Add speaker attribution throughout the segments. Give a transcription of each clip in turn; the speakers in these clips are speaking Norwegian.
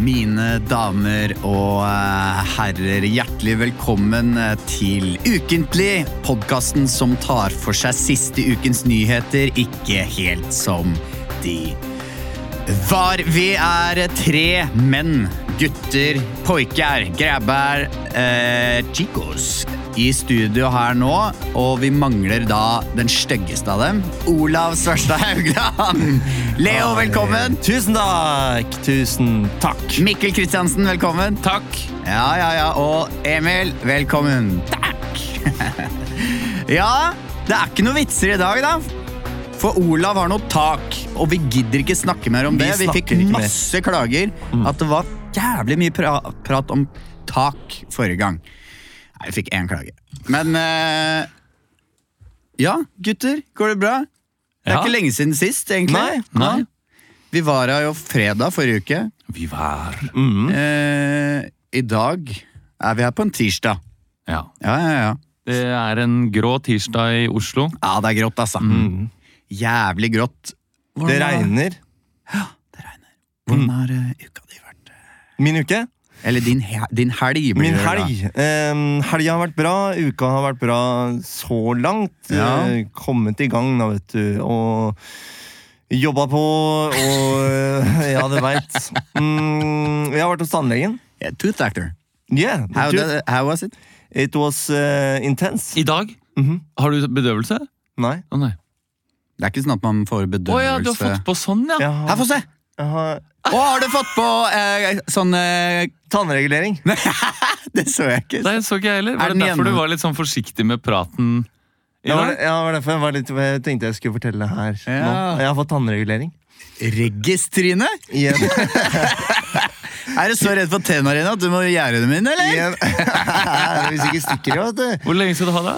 Speaker 1: Mine damer og eh, herrer, hjertelig velkommen eh, til Ukentlig. Podkasten som tar for seg siste ukens nyheter, ikke helt som de var. Vi er tre menn, gutter, poiker, grabber, eh, chicos i studio her nå. Og vi mangler da den styggeste av dem, Olav Svarstad Haugland. Leo, velkommen.
Speaker 2: Tusen takk! Tusen takk.
Speaker 1: Mikkel Kristiansen, velkommen. Takk. Ja, ja, ja. Og Emil, velkommen. Takk. ja, det er ikke noe vitser i dag, da. For Olav har noe tak, og vi gidder ikke snakke mer om
Speaker 2: Vi
Speaker 1: det. Vi fikk
Speaker 2: snakker ikke mer. Mm.
Speaker 1: masse klager at det var jævlig mye pra prat om tak forrige gang. Nei, vi fikk én klage. Men eh, ja, gutter, går det bra? Det er
Speaker 2: Ja.
Speaker 1: ikke lenge siden sist, egentlig.
Speaker 2: Nei, nei.
Speaker 1: Ja. Vi var her jo fredag forrige uke.
Speaker 3: Vi var
Speaker 2: Mhm.
Speaker 1: Eh, I dag er vi her på en tirsdag.
Speaker 3: Ja.
Speaker 1: Ja, ja, ja.
Speaker 3: Det er en grå tirsdag i Oslo.
Speaker 1: Ja, det er grått, altså. Jævlig grått.
Speaker 2: Det
Speaker 1: Hvordan har-
Speaker 2: regner.
Speaker 1: Hvordan har eh, uka di vært?
Speaker 2: Min uke?
Speaker 1: Eller din, he din helg. blir
Speaker 2: Min
Speaker 1: det da.
Speaker 2: helg. Um, helga har vært bra, uka har vært bra så langt.
Speaker 1: Ja.
Speaker 2: Eh, kommet i gang, da, vet du. Og jobba på, og eh, Ja, du veit. Mm, jeg har vært hos tannlegen.
Speaker 1: Yeah, tooth actor.
Speaker 2: Yeah,
Speaker 1: How,
Speaker 2: dude,
Speaker 1: did- how was it?
Speaker 2: it was eh, intense.
Speaker 3: I dag?
Speaker 2: Mhm.
Speaker 3: Har du bedøvelse? Å
Speaker 2: Nei.
Speaker 3: nei.
Speaker 1: Det er ikke sånn at man får bedøvelse.
Speaker 3: Å ja, du har fått på sånn, ja.
Speaker 2: Jeg
Speaker 1: Her,
Speaker 2: har,
Speaker 1: få se!
Speaker 2: jeg har
Speaker 1: Å, har du fått på eh, sånn eh,
Speaker 2: tannregulering.
Speaker 1: Det så jeg ikke.
Speaker 3: Nei, så ikke jeg heller.
Speaker 1: Er
Speaker 3: Var
Speaker 1: den
Speaker 3: det derfor
Speaker 1: igjen?
Speaker 3: du var litt sånn forsiktig med praten i
Speaker 2: Ja, var
Speaker 3: dag?
Speaker 2: det- ja, det var derfor jeg, var litt, jeg tenkte jeg skulle fortelle det her.
Speaker 1: Ja.
Speaker 2: Nå. Jeg har fått tannregulering.
Speaker 1: Reggistrine?
Speaker 2: Igjen.
Speaker 1: Er du så redd for tenna dine at du må gjerde dem inn, eller?
Speaker 2: Igjen. Hvis ikke stikker jeg, vet du.
Speaker 3: Hvor lenge skal du ha det?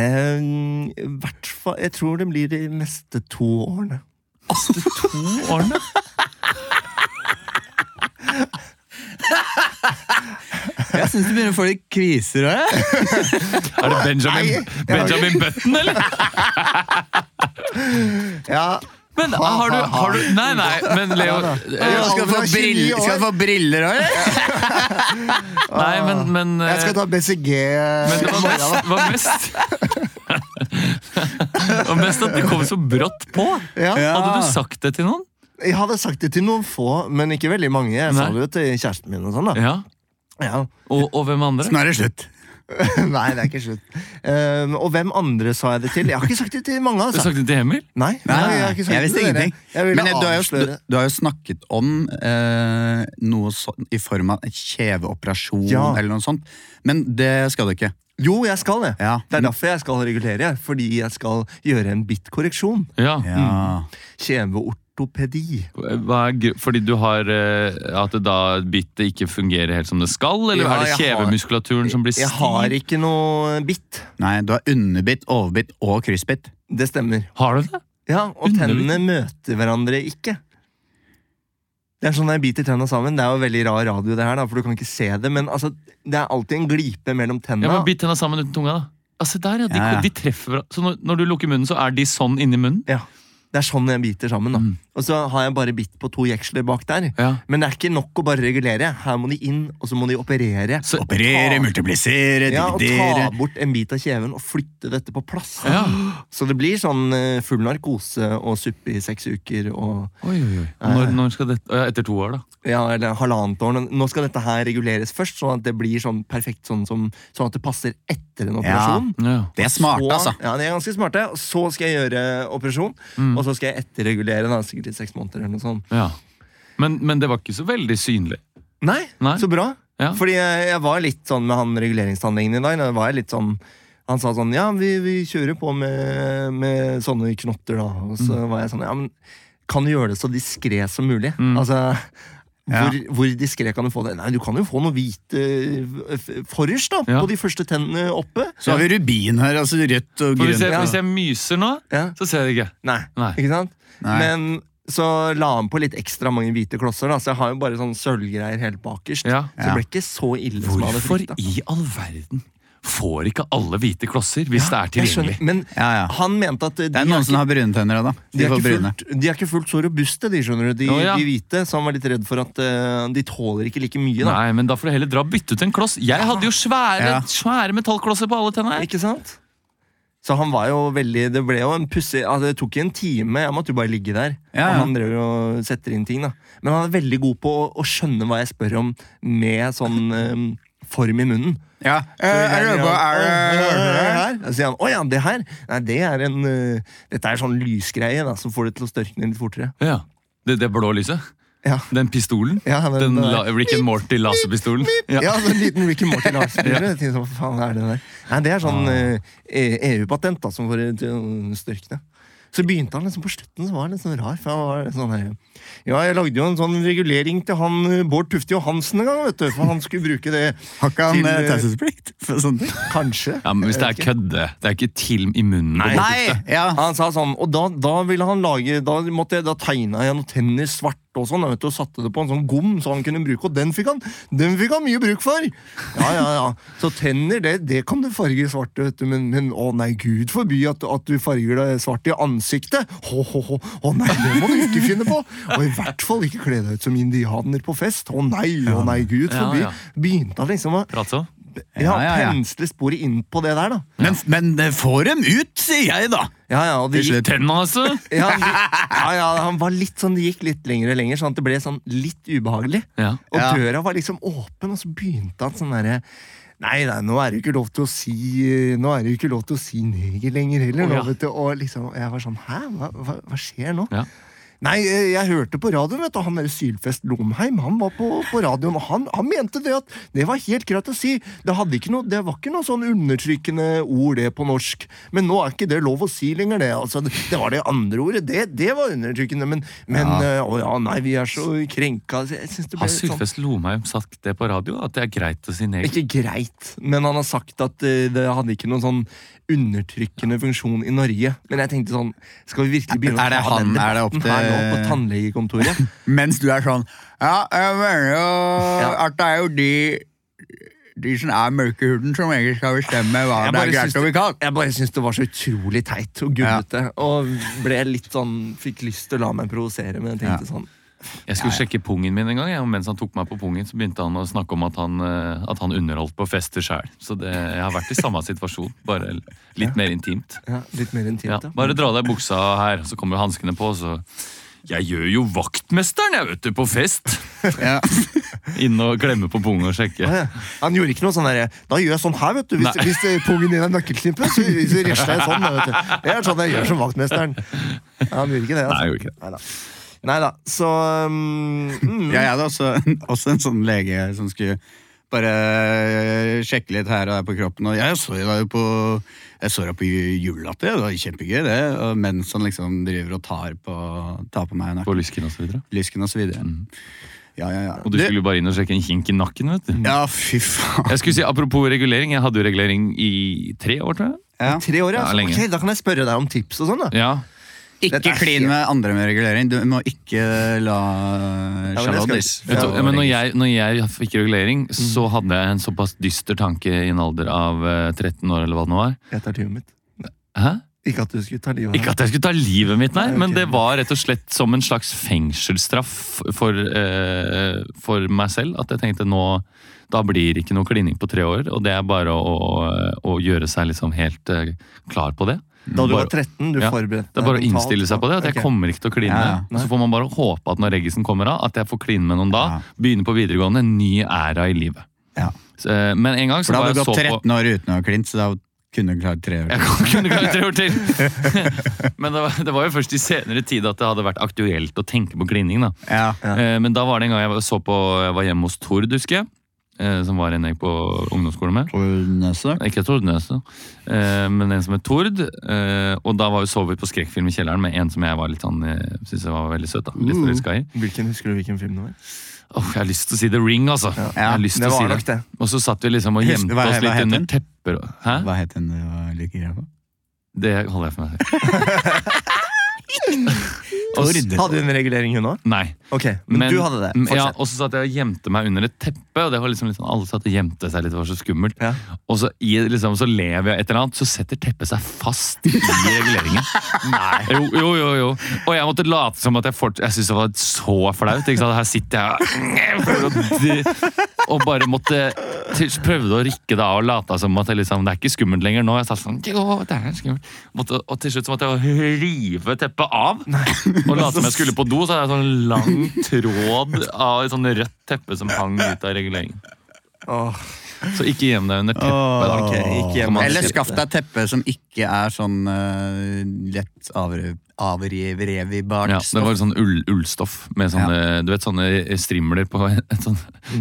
Speaker 2: Eh, hvert fall, jeg tror det blir de neste to årene.
Speaker 3: To årene?
Speaker 1: Jeg syns du begynner å få litt kviser òg, jeg.
Speaker 3: Er det Benjamin, Benjamin Button, eller?
Speaker 2: Ja,
Speaker 3: Men har du, har du Nei, nei, men Leo
Speaker 1: Ja,
Speaker 3: eh,
Speaker 1: skal du få
Speaker 2: Alder er 29
Speaker 1: brill-
Speaker 2: år.
Speaker 1: skal du få briller òg, eller?
Speaker 3: Nei, men, men eh,
Speaker 4: Jeg skal ta BCG
Speaker 3: Men
Speaker 4: i
Speaker 3: det var
Speaker 4: morgen. da.
Speaker 3: mest, var mest Det var mest at det kom så brått på.
Speaker 2: ja.
Speaker 3: Hadde du sagt det til noen?
Speaker 2: Jeg hadde sagt det til noen få, men ikke veldig mange. Jeg sa
Speaker 3: Nei.
Speaker 2: det jo til kjæresten min og sånn, da.
Speaker 3: Ja.
Speaker 2: Ja.
Speaker 3: Og, og hvem andre?
Speaker 1: Nå er det slutt.
Speaker 2: Nei, det er ikke slutt. Um, og hvem andre sa jeg det til? Jeg har ikke sagt det til mange,
Speaker 3: Du
Speaker 2: altså.
Speaker 3: sa det til Emil?
Speaker 2: Nei, nei, jeg har ikke sagt
Speaker 1: jeg
Speaker 2: det
Speaker 1: visste
Speaker 2: til dere.
Speaker 1: ingenting.
Speaker 2: Jeg ville
Speaker 1: Men du har, jo, du,
Speaker 2: avsløre.
Speaker 1: du har jo snakket om eh, noe sånn i form av kjeveoperasjon
Speaker 2: Ja.
Speaker 1: eller noe sånt, men det skal du ikke.
Speaker 2: Jo, jeg skal det.
Speaker 1: Ja.
Speaker 2: Det er derfor jeg skal regulere. Fordi jeg skal gjøre en bitkorreksjon.
Speaker 3: Ja.
Speaker 1: Ja.
Speaker 2: Kjeveortopedi.
Speaker 3: Hva er gru- fordi du har eh, At det da byttet ikke fungerer helt som det skal? Eller
Speaker 2: Ja,
Speaker 3: er det
Speaker 2: jeg har-
Speaker 3: kjevemuskulaturen som blir stiv?
Speaker 2: Jeg har ikke noe bitt.
Speaker 1: Nei, du har underbitt, overbitt og kryssbitt.
Speaker 2: Det stemmer.
Speaker 3: Har du det?
Speaker 2: Ja, Og
Speaker 3: Underlig.
Speaker 2: tennene møter hverandre ikke. Det er sånn jeg biter tenna sammen. Det er jo veldig rar radio, det her, da, for du kan ikke se det. Men altså, det er alltid en glipe mellom
Speaker 3: Ja,
Speaker 2: tenna.
Speaker 3: men Bitt tenna sammen uten tunga, da. Ja, se der, ja. De,
Speaker 1: Ja, ja.
Speaker 3: de treffer hverandre. Så når, når du lukker munnen, så er de sånn inni munnen?
Speaker 2: Ja, det er sånn jeg biter sammen. da.
Speaker 3: Mm.
Speaker 2: Og så har jeg bare bitt på to jeksler bak der.
Speaker 3: Ja.
Speaker 2: Men det er ikke nok å bare regulere. Her må de inn, og så må de operere.
Speaker 3: Så-
Speaker 1: Operere, multiplisere,
Speaker 2: Ja, og ta
Speaker 1: dividere.
Speaker 2: bort en bit av kjeven og flytte dette på plass.
Speaker 3: ja.
Speaker 2: Så det blir sånn eh, full narkose og suppe i seks uker og
Speaker 3: Oi, oi, oi. Når, når skal dette Å ja, Etter to år, da.
Speaker 2: ja, eller halvannet år. Nå skal dette her reguleres først, sånn at det blir sånn perfekt sånn, som, sånn at det passer etter en operasjon.
Speaker 3: Ja.
Speaker 1: Det er smart,
Speaker 2: Så-
Speaker 1: altså.
Speaker 2: Ja, de er ganske smarte. Og så skal jeg gjøre operasjon, og så skal jeg etterregulere da, sikkert i seks måneder eller noe sånt.
Speaker 3: ja. Men, men det var ikke så veldig synlig.
Speaker 2: Nei,
Speaker 3: Nei.
Speaker 2: så bra.
Speaker 3: Ja.
Speaker 2: Fordi jeg, jeg var litt sånn med han reguleringstannlegen i dag. Da var jeg litt sånn Han sa sånn Ja, vi, vi kjører på med, med sånne knotter, da. Og så
Speaker 3: Mm.
Speaker 2: var jeg sånn Ja, men kan du gjøre det så diskré som mulig?
Speaker 3: Mm.
Speaker 2: Altså
Speaker 1: Ja.
Speaker 2: Hvor, hvor diskré kan du få det? Nei, Du kan jo få noe hvit eh, f- forrest da,
Speaker 3: Ja.
Speaker 2: på de første tennene oppe.
Speaker 1: Så har vi rubin her, altså rødt og
Speaker 3: For hvis jeg,
Speaker 1: grønt.
Speaker 3: hvis jeg myser nå,
Speaker 2: Ja.
Speaker 3: så ser jeg det ikke.
Speaker 2: Nei,
Speaker 3: Nei.
Speaker 2: ikke sant?
Speaker 1: Nei.
Speaker 2: Men så la han på litt ekstra mange hvite klosser, da, så jeg har jo bare sånn sølvgreier helt bakerst.
Speaker 3: Ja.
Speaker 2: Så det ble ikke så ille som jeg hadde
Speaker 3: Hvorfor
Speaker 2: frykta.
Speaker 3: i all verden får ikke alle hvite klosser hvis det er
Speaker 2: Jeg skjønner,
Speaker 3: tilgjengelig?
Speaker 2: men
Speaker 1: Ja, ja.
Speaker 2: han mente at eh,
Speaker 1: Det
Speaker 2: de
Speaker 1: er noen som har brune tenner, da.
Speaker 2: De
Speaker 1: De
Speaker 2: er,
Speaker 1: får
Speaker 2: ikke
Speaker 1: brune.
Speaker 2: fullt, de er ikke fullt så robuste, de skjønner du. De,
Speaker 3: Å, ja.
Speaker 2: de hvite. Så han var litt redd for at eh, de tåler ikke like mye. da.
Speaker 3: Nei, men Da får du heller dra og bytte ut en kloss. Jeg hadde jo svære,
Speaker 1: Ja.
Speaker 3: svære metallklosser på alle tennene.
Speaker 2: Ikke sant? Så han var jo veldig Det ble jo en pussig altså, Det tok ikke en time. Jeg måtte jo bare ligge der.
Speaker 1: Ja, ja.
Speaker 2: Og han drev og setter inn ting. da. Men han er veldig god på å, å skjønne hva jeg spør om med sånn eh, form i munnen.
Speaker 1: Ja.
Speaker 2: Så jeg-
Speaker 1: Er det-
Speaker 2: her? Så sier han å ja, det her. Nei, det er en eh, Dette er sånn lysgreie da, som får det til å størkne litt fortere.
Speaker 3: Ja, Det, det blå lyset.
Speaker 2: Ja.
Speaker 3: Den pistolen.
Speaker 2: Ja, den eh,
Speaker 3: den
Speaker 2: der.
Speaker 3: la, Rick and Morty-laserpistolen.
Speaker 2: Ja,
Speaker 3: Ja.
Speaker 2: så en liten Ricky Morty Lars-spiller. Jeg tenkte, Hva faen er det der? Nei, det er sånn eh, E- EU-patent da, som får det til å størkne. Så begynte han liksom på slutten, så var han litt sånn rar. For han var sånn her, ja, jeg lagde jo en sånn regulering til han eh, Bård Tufte Johansen en gang, vet du. For han skulle bruke det
Speaker 1: Har ikke han
Speaker 2: til,
Speaker 1: eh,
Speaker 2: eh,
Speaker 1: taushetsplikt for sånne ting?
Speaker 2: Kanskje.
Speaker 3: ja, men Hvis det er kødde. Det er ikke til i munnen. på Morty.
Speaker 1: Nei! Ja.
Speaker 2: Han sa sånn, og da, da ville han lage Da, måtte jeg, da tegna jeg noen tenner svart og sånn, vet du, og satte det på en sånn gom så han kunne bruke, og den fikk han Den fikk han mye bruk for! Ja, ja, ja. Så tenner, det, det kan du farge svart, vet du, men, men å nei, gud forby at, at du farger deg svart i ansiktet! Ho, ho, ho. Å nei, det må du ikke finne på! Og i hvert fall ikke kle deg ut som indianer på fest! Å nei, å nei, gud
Speaker 3: Ja,
Speaker 2: forby!
Speaker 3: ja.
Speaker 2: Begynte han liksom å
Speaker 3: Prat sånn.
Speaker 2: ja,
Speaker 1: Ja, ja, ja.
Speaker 2: pensle sporet inn på det der, da.
Speaker 1: Men, men eh, få dem ut, sier jeg, da!
Speaker 2: Ja, ja, og det
Speaker 1: Til
Speaker 2: gikk
Speaker 1: slutt.
Speaker 3: Tenna, altså!
Speaker 2: Ja, han, ja, ja, han var litt sånn, det gikk litt lenger og lenger, sånn at det ble sånn litt ubehagelig.
Speaker 3: Ja.
Speaker 2: Og
Speaker 1: Ja.
Speaker 2: døra var liksom åpen, og så begynte han sånn derre Nei, nei, nå er det jo ikke lov til å si Nå er det jo ikke lov til å si neger lenger heller.
Speaker 3: Å, ja.
Speaker 2: nå, vet du, og liksom, jeg var sånn Hæ, hva, hva, hva skjer nå?
Speaker 3: Ja.
Speaker 2: Nei, eh, jeg hørte på radioen, vet du, han der Sylfest Lomheim, han var på, på radioen, og han, han mente det at det var helt greit å si. Det, hadde ikke noe, det var ikke noe sånn undertrykkende ord, det, på norsk. Men nå er ikke det lov å si lenger, det. Altså, det det var det andre ordet, det, det var undertrykkende. Men, men eh, å ja, nei, vi er så krenka. Så Jeg synes det ble
Speaker 3: Har
Speaker 2: litt sånn
Speaker 3: Sylfest Lomheim sagt det på radio? At det er greit å si neger?
Speaker 2: ikke greit, men han har sagt at eh, det hadde ikke noen sånn undertrykkende funksjon i Norge. Men jeg tenkte sånn, skal vi virkelig begynne
Speaker 1: Er det
Speaker 2: å ta den
Speaker 1: han- er det opp
Speaker 2: debatten
Speaker 1: til-
Speaker 2: her nå på tannlegekontoret?
Speaker 1: Mens du er sånn Ja, jeg mener jo at det er jo de De som er mørkehuden, som egentlig skal bestemme hva det
Speaker 2: Jeg bare
Speaker 1: er
Speaker 2: syns
Speaker 1: greit og ikke
Speaker 2: det-
Speaker 1: kan.
Speaker 2: Jeg bare syns det var så utrolig teit og gubbete. Og ble litt sånn, fikk lyst til å la meg provosere, men jeg tenkte sånn
Speaker 3: Jeg skulle sjekke pungen min en gang, jeg, og mens han tok meg på pungen, så begynte han å snakke om at han, eh, at han underholdt på fester sjøl. Så det, jeg har vært i samme situasjon, bare l- litt mer intimt.
Speaker 2: ja, Litt mer
Speaker 3: Ja,
Speaker 2: intimt, ja.
Speaker 3: bare dra deg buksa her, så kommer jo hanskene på, så Jeg gjør jo vaktmesteren, jeg, vet du, på fest!
Speaker 1: Ja.
Speaker 3: Inne og klemme på pungen og sjekke.
Speaker 2: Ja. Han gjorde ikke noe sånn derre Da gjør jeg sånn her, vet du. Hvis,
Speaker 3: Nei.
Speaker 2: hvis eh, pungen din er nøkkelknippet, så, så risler jeg sånn. da, Vet du. Det er sånn jeg gjør som vaktmesteren. Ja, han gjorde ikke det.
Speaker 3: Nei,
Speaker 2: Altså.
Speaker 3: jeg gjorde ikke det.
Speaker 2: Neida. Neida, Så um, mm,
Speaker 1: Ja, jeg hadde også, også en sånn lege som skulle bare øh, sjekke litt her og der på kroppen. Og jeg så deg jo på Jeg så deg på julelatter, det var kjempegøy, det. Og mens han liksom driver og tar på, tar på meg
Speaker 3: På lysken og så videre.
Speaker 1: narkolysken og så videre. Ja, ja, ja.
Speaker 3: Og du skulle jo bare inn og sjekke en kink i nakken, vet du.
Speaker 1: Ja, fy faen.
Speaker 3: Jeg skulle si, Apropos regulering, jeg hadde jo regulering i tre år, tror jeg.
Speaker 1: Ja.
Speaker 2: Tre år, ja.
Speaker 3: Ja,
Speaker 2: Så,
Speaker 3: lenge.
Speaker 2: ok, da kan jeg spørre deg om tips og sånn, da.
Speaker 3: Ja,
Speaker 1: Ikke
Speaker 2: Dette er
Speaker 1: klin
Speaker 2: helt-
Speaker 1: med andre med regulering. Du må ikke la
Speaker 2: det skal
Speaker 1: Charlottes
Speaker 2: vi.
Speaker 3: Vet du,
Speaker 2: Ja,
Speaker 3: ja, men når jeg, når jeg fikk regulering, så hadde jeg en såpass dyster tanke i en alder av eh, 13 år, eller hva det nå var.
Speaker 2: Jeg tar livet mitt.
Speaker 3: Hæ?
Speaker 2: Ikke at du skulle ta livet av
Speaker 3: Ikke at jeg skulle ta livet mitt, nei,
Speaker 2: Nei, ok.
Speaker 3: men det var rett og slett som en slags fengselsstraff for, eh, for meg selv. At jeg tenkte nå, da blir det ikke noe klining på tre år, og det er bare å, å, å gjøre seg liksom helt eh, klar på det.
Speaker 2: Da du var
Speaker 3: Bare-
Speaker 2: 13, du
Speaker 3: Ja,
Speaker 2: forberedte
Speaker 3: Det er bare å
Speaker 2: deg mentalt,
Speaker 3: innstille seg på det, at jeg
Speaker 2: ok.
Speaker 3: kommer ikke til å kline.
Speaker 1: Ja,
Speaker 3: Og så får man bare håpe at når reggisen kommer av, at jeg får kline med noen da.
Speaker 1: Ja.
Speaker 3: Begynne på videregående, en ny æra i livet.
Speaker 1: Ja.
Speaker 3: Så, eh, men en gang så
Speaker 1: For da
Speaker 3: var
Speaker 1: hadde
Speaker 3: jeg
Speaker 1: du
Speaker 3: så
Speaker 1: gått
Speaker 3: på
Speaker 1: 13 år uten å ha klint, så da kunne du klart tre år.
Speaker 3: Jeg kan- kunne klart tre år til! Men det var, det var jo først i senere tid at det hadde vært aktuelt å tenke på klining. da.
Speaker 1: Ja.
Speaker 2: Ja.
Speaker 3: Eh, Men da var det en gang jeg så på, jeg var hjemme hos Tord, husker jeg. eh, som var en jeg gikk på ungdomsskolen med.
Speaker 1: Tornese.
Speaker 3: Ikke Tordnes, da. Eh, men en som het Tord. Eh, og da var vi sovet på skrekkfilm i kjelleren med en som jeg var litt sånn, eh, synes jeg var veldig søt. da. Litt forelska i.
Speaker 2: Hvilken, husker du hvilken film det var?
Speaker 3: Åh, jeg har lyst til å si The Ring, altså. jeg har lyst til
Speaker 2: det
Speaker 3: å si
Speaker 2: var
Speaker 3: det.
Speaker 2: nok det.
Speaker 3: Og så satt vi liksom og
Speaker 1: Husker-
Speaker 3: gjemte
Speaker 1: hva-
Speaker 3: oss
Speaker 1: hva
Speaker 3: litt
Speaker 1: het
Speaker 3: under
Speaker 1: den?
Speaker 3: tepper. og- Hæ?
Speaker 1: Hva het den du var like greia på?
Speaker 3: Det holder jeg for meg selv. Og s-
Speaker 1: Tord.
Speaker 2: Hadde du en regulering, hun òg?
Speaker 3: Nei.
Speaker 2: Ok, men, du hadde det.
Speaker 3: Mm, Ja,
Speaker 2: Fortsett.
Speaker 3: og så satt jeg og gjemte meg under et teppe, og det var liksom litt sånn, alle satt og gjemte seg litt, det var så skummelt.
Speaker 2: Ja.
Speaker 3: Og så, i, liksom, så lever jeg et eller annet, så setter teppet seg fast i reguleringen. Nei. Jo, jo, jo, jo. Og jeg måtte late som at jeg fort... Jeg synes det var så flaut, ikke sant? Her sitter jeg for å dø, og bare måtte... til- Prøvde å rykke det av og late som at jeg liksom, det er ikke skummelt lenger nå. Jeg satt sånn, jo, det er skummelt. Måtte, og til slutt så måtte jeg rive teppet av. Og late som jeg skulle på do, så hadde jeg sånn lang tråd av et sånn rødt teppe som hang ut av reguleringen.
Speaker 2: Åh,
Speaker 3: Så ikke gjem deg under teppet.
Speaker 2: ok, ikke
Speaker 3: Kan
Speaker 2: hjemme.
Speaker 3: man
Speaker 1: Eller
Speaker 3: si-
Speaker 1: skaff deg teppe som ikke er sånn eh, lett avre- avrevibart
Speaker 3: Ja, det
Speaker 1: stoff.
Speaker 3: var sånn ull, ullstoff med sånne, du vet, sånne strimler på, en- sånn,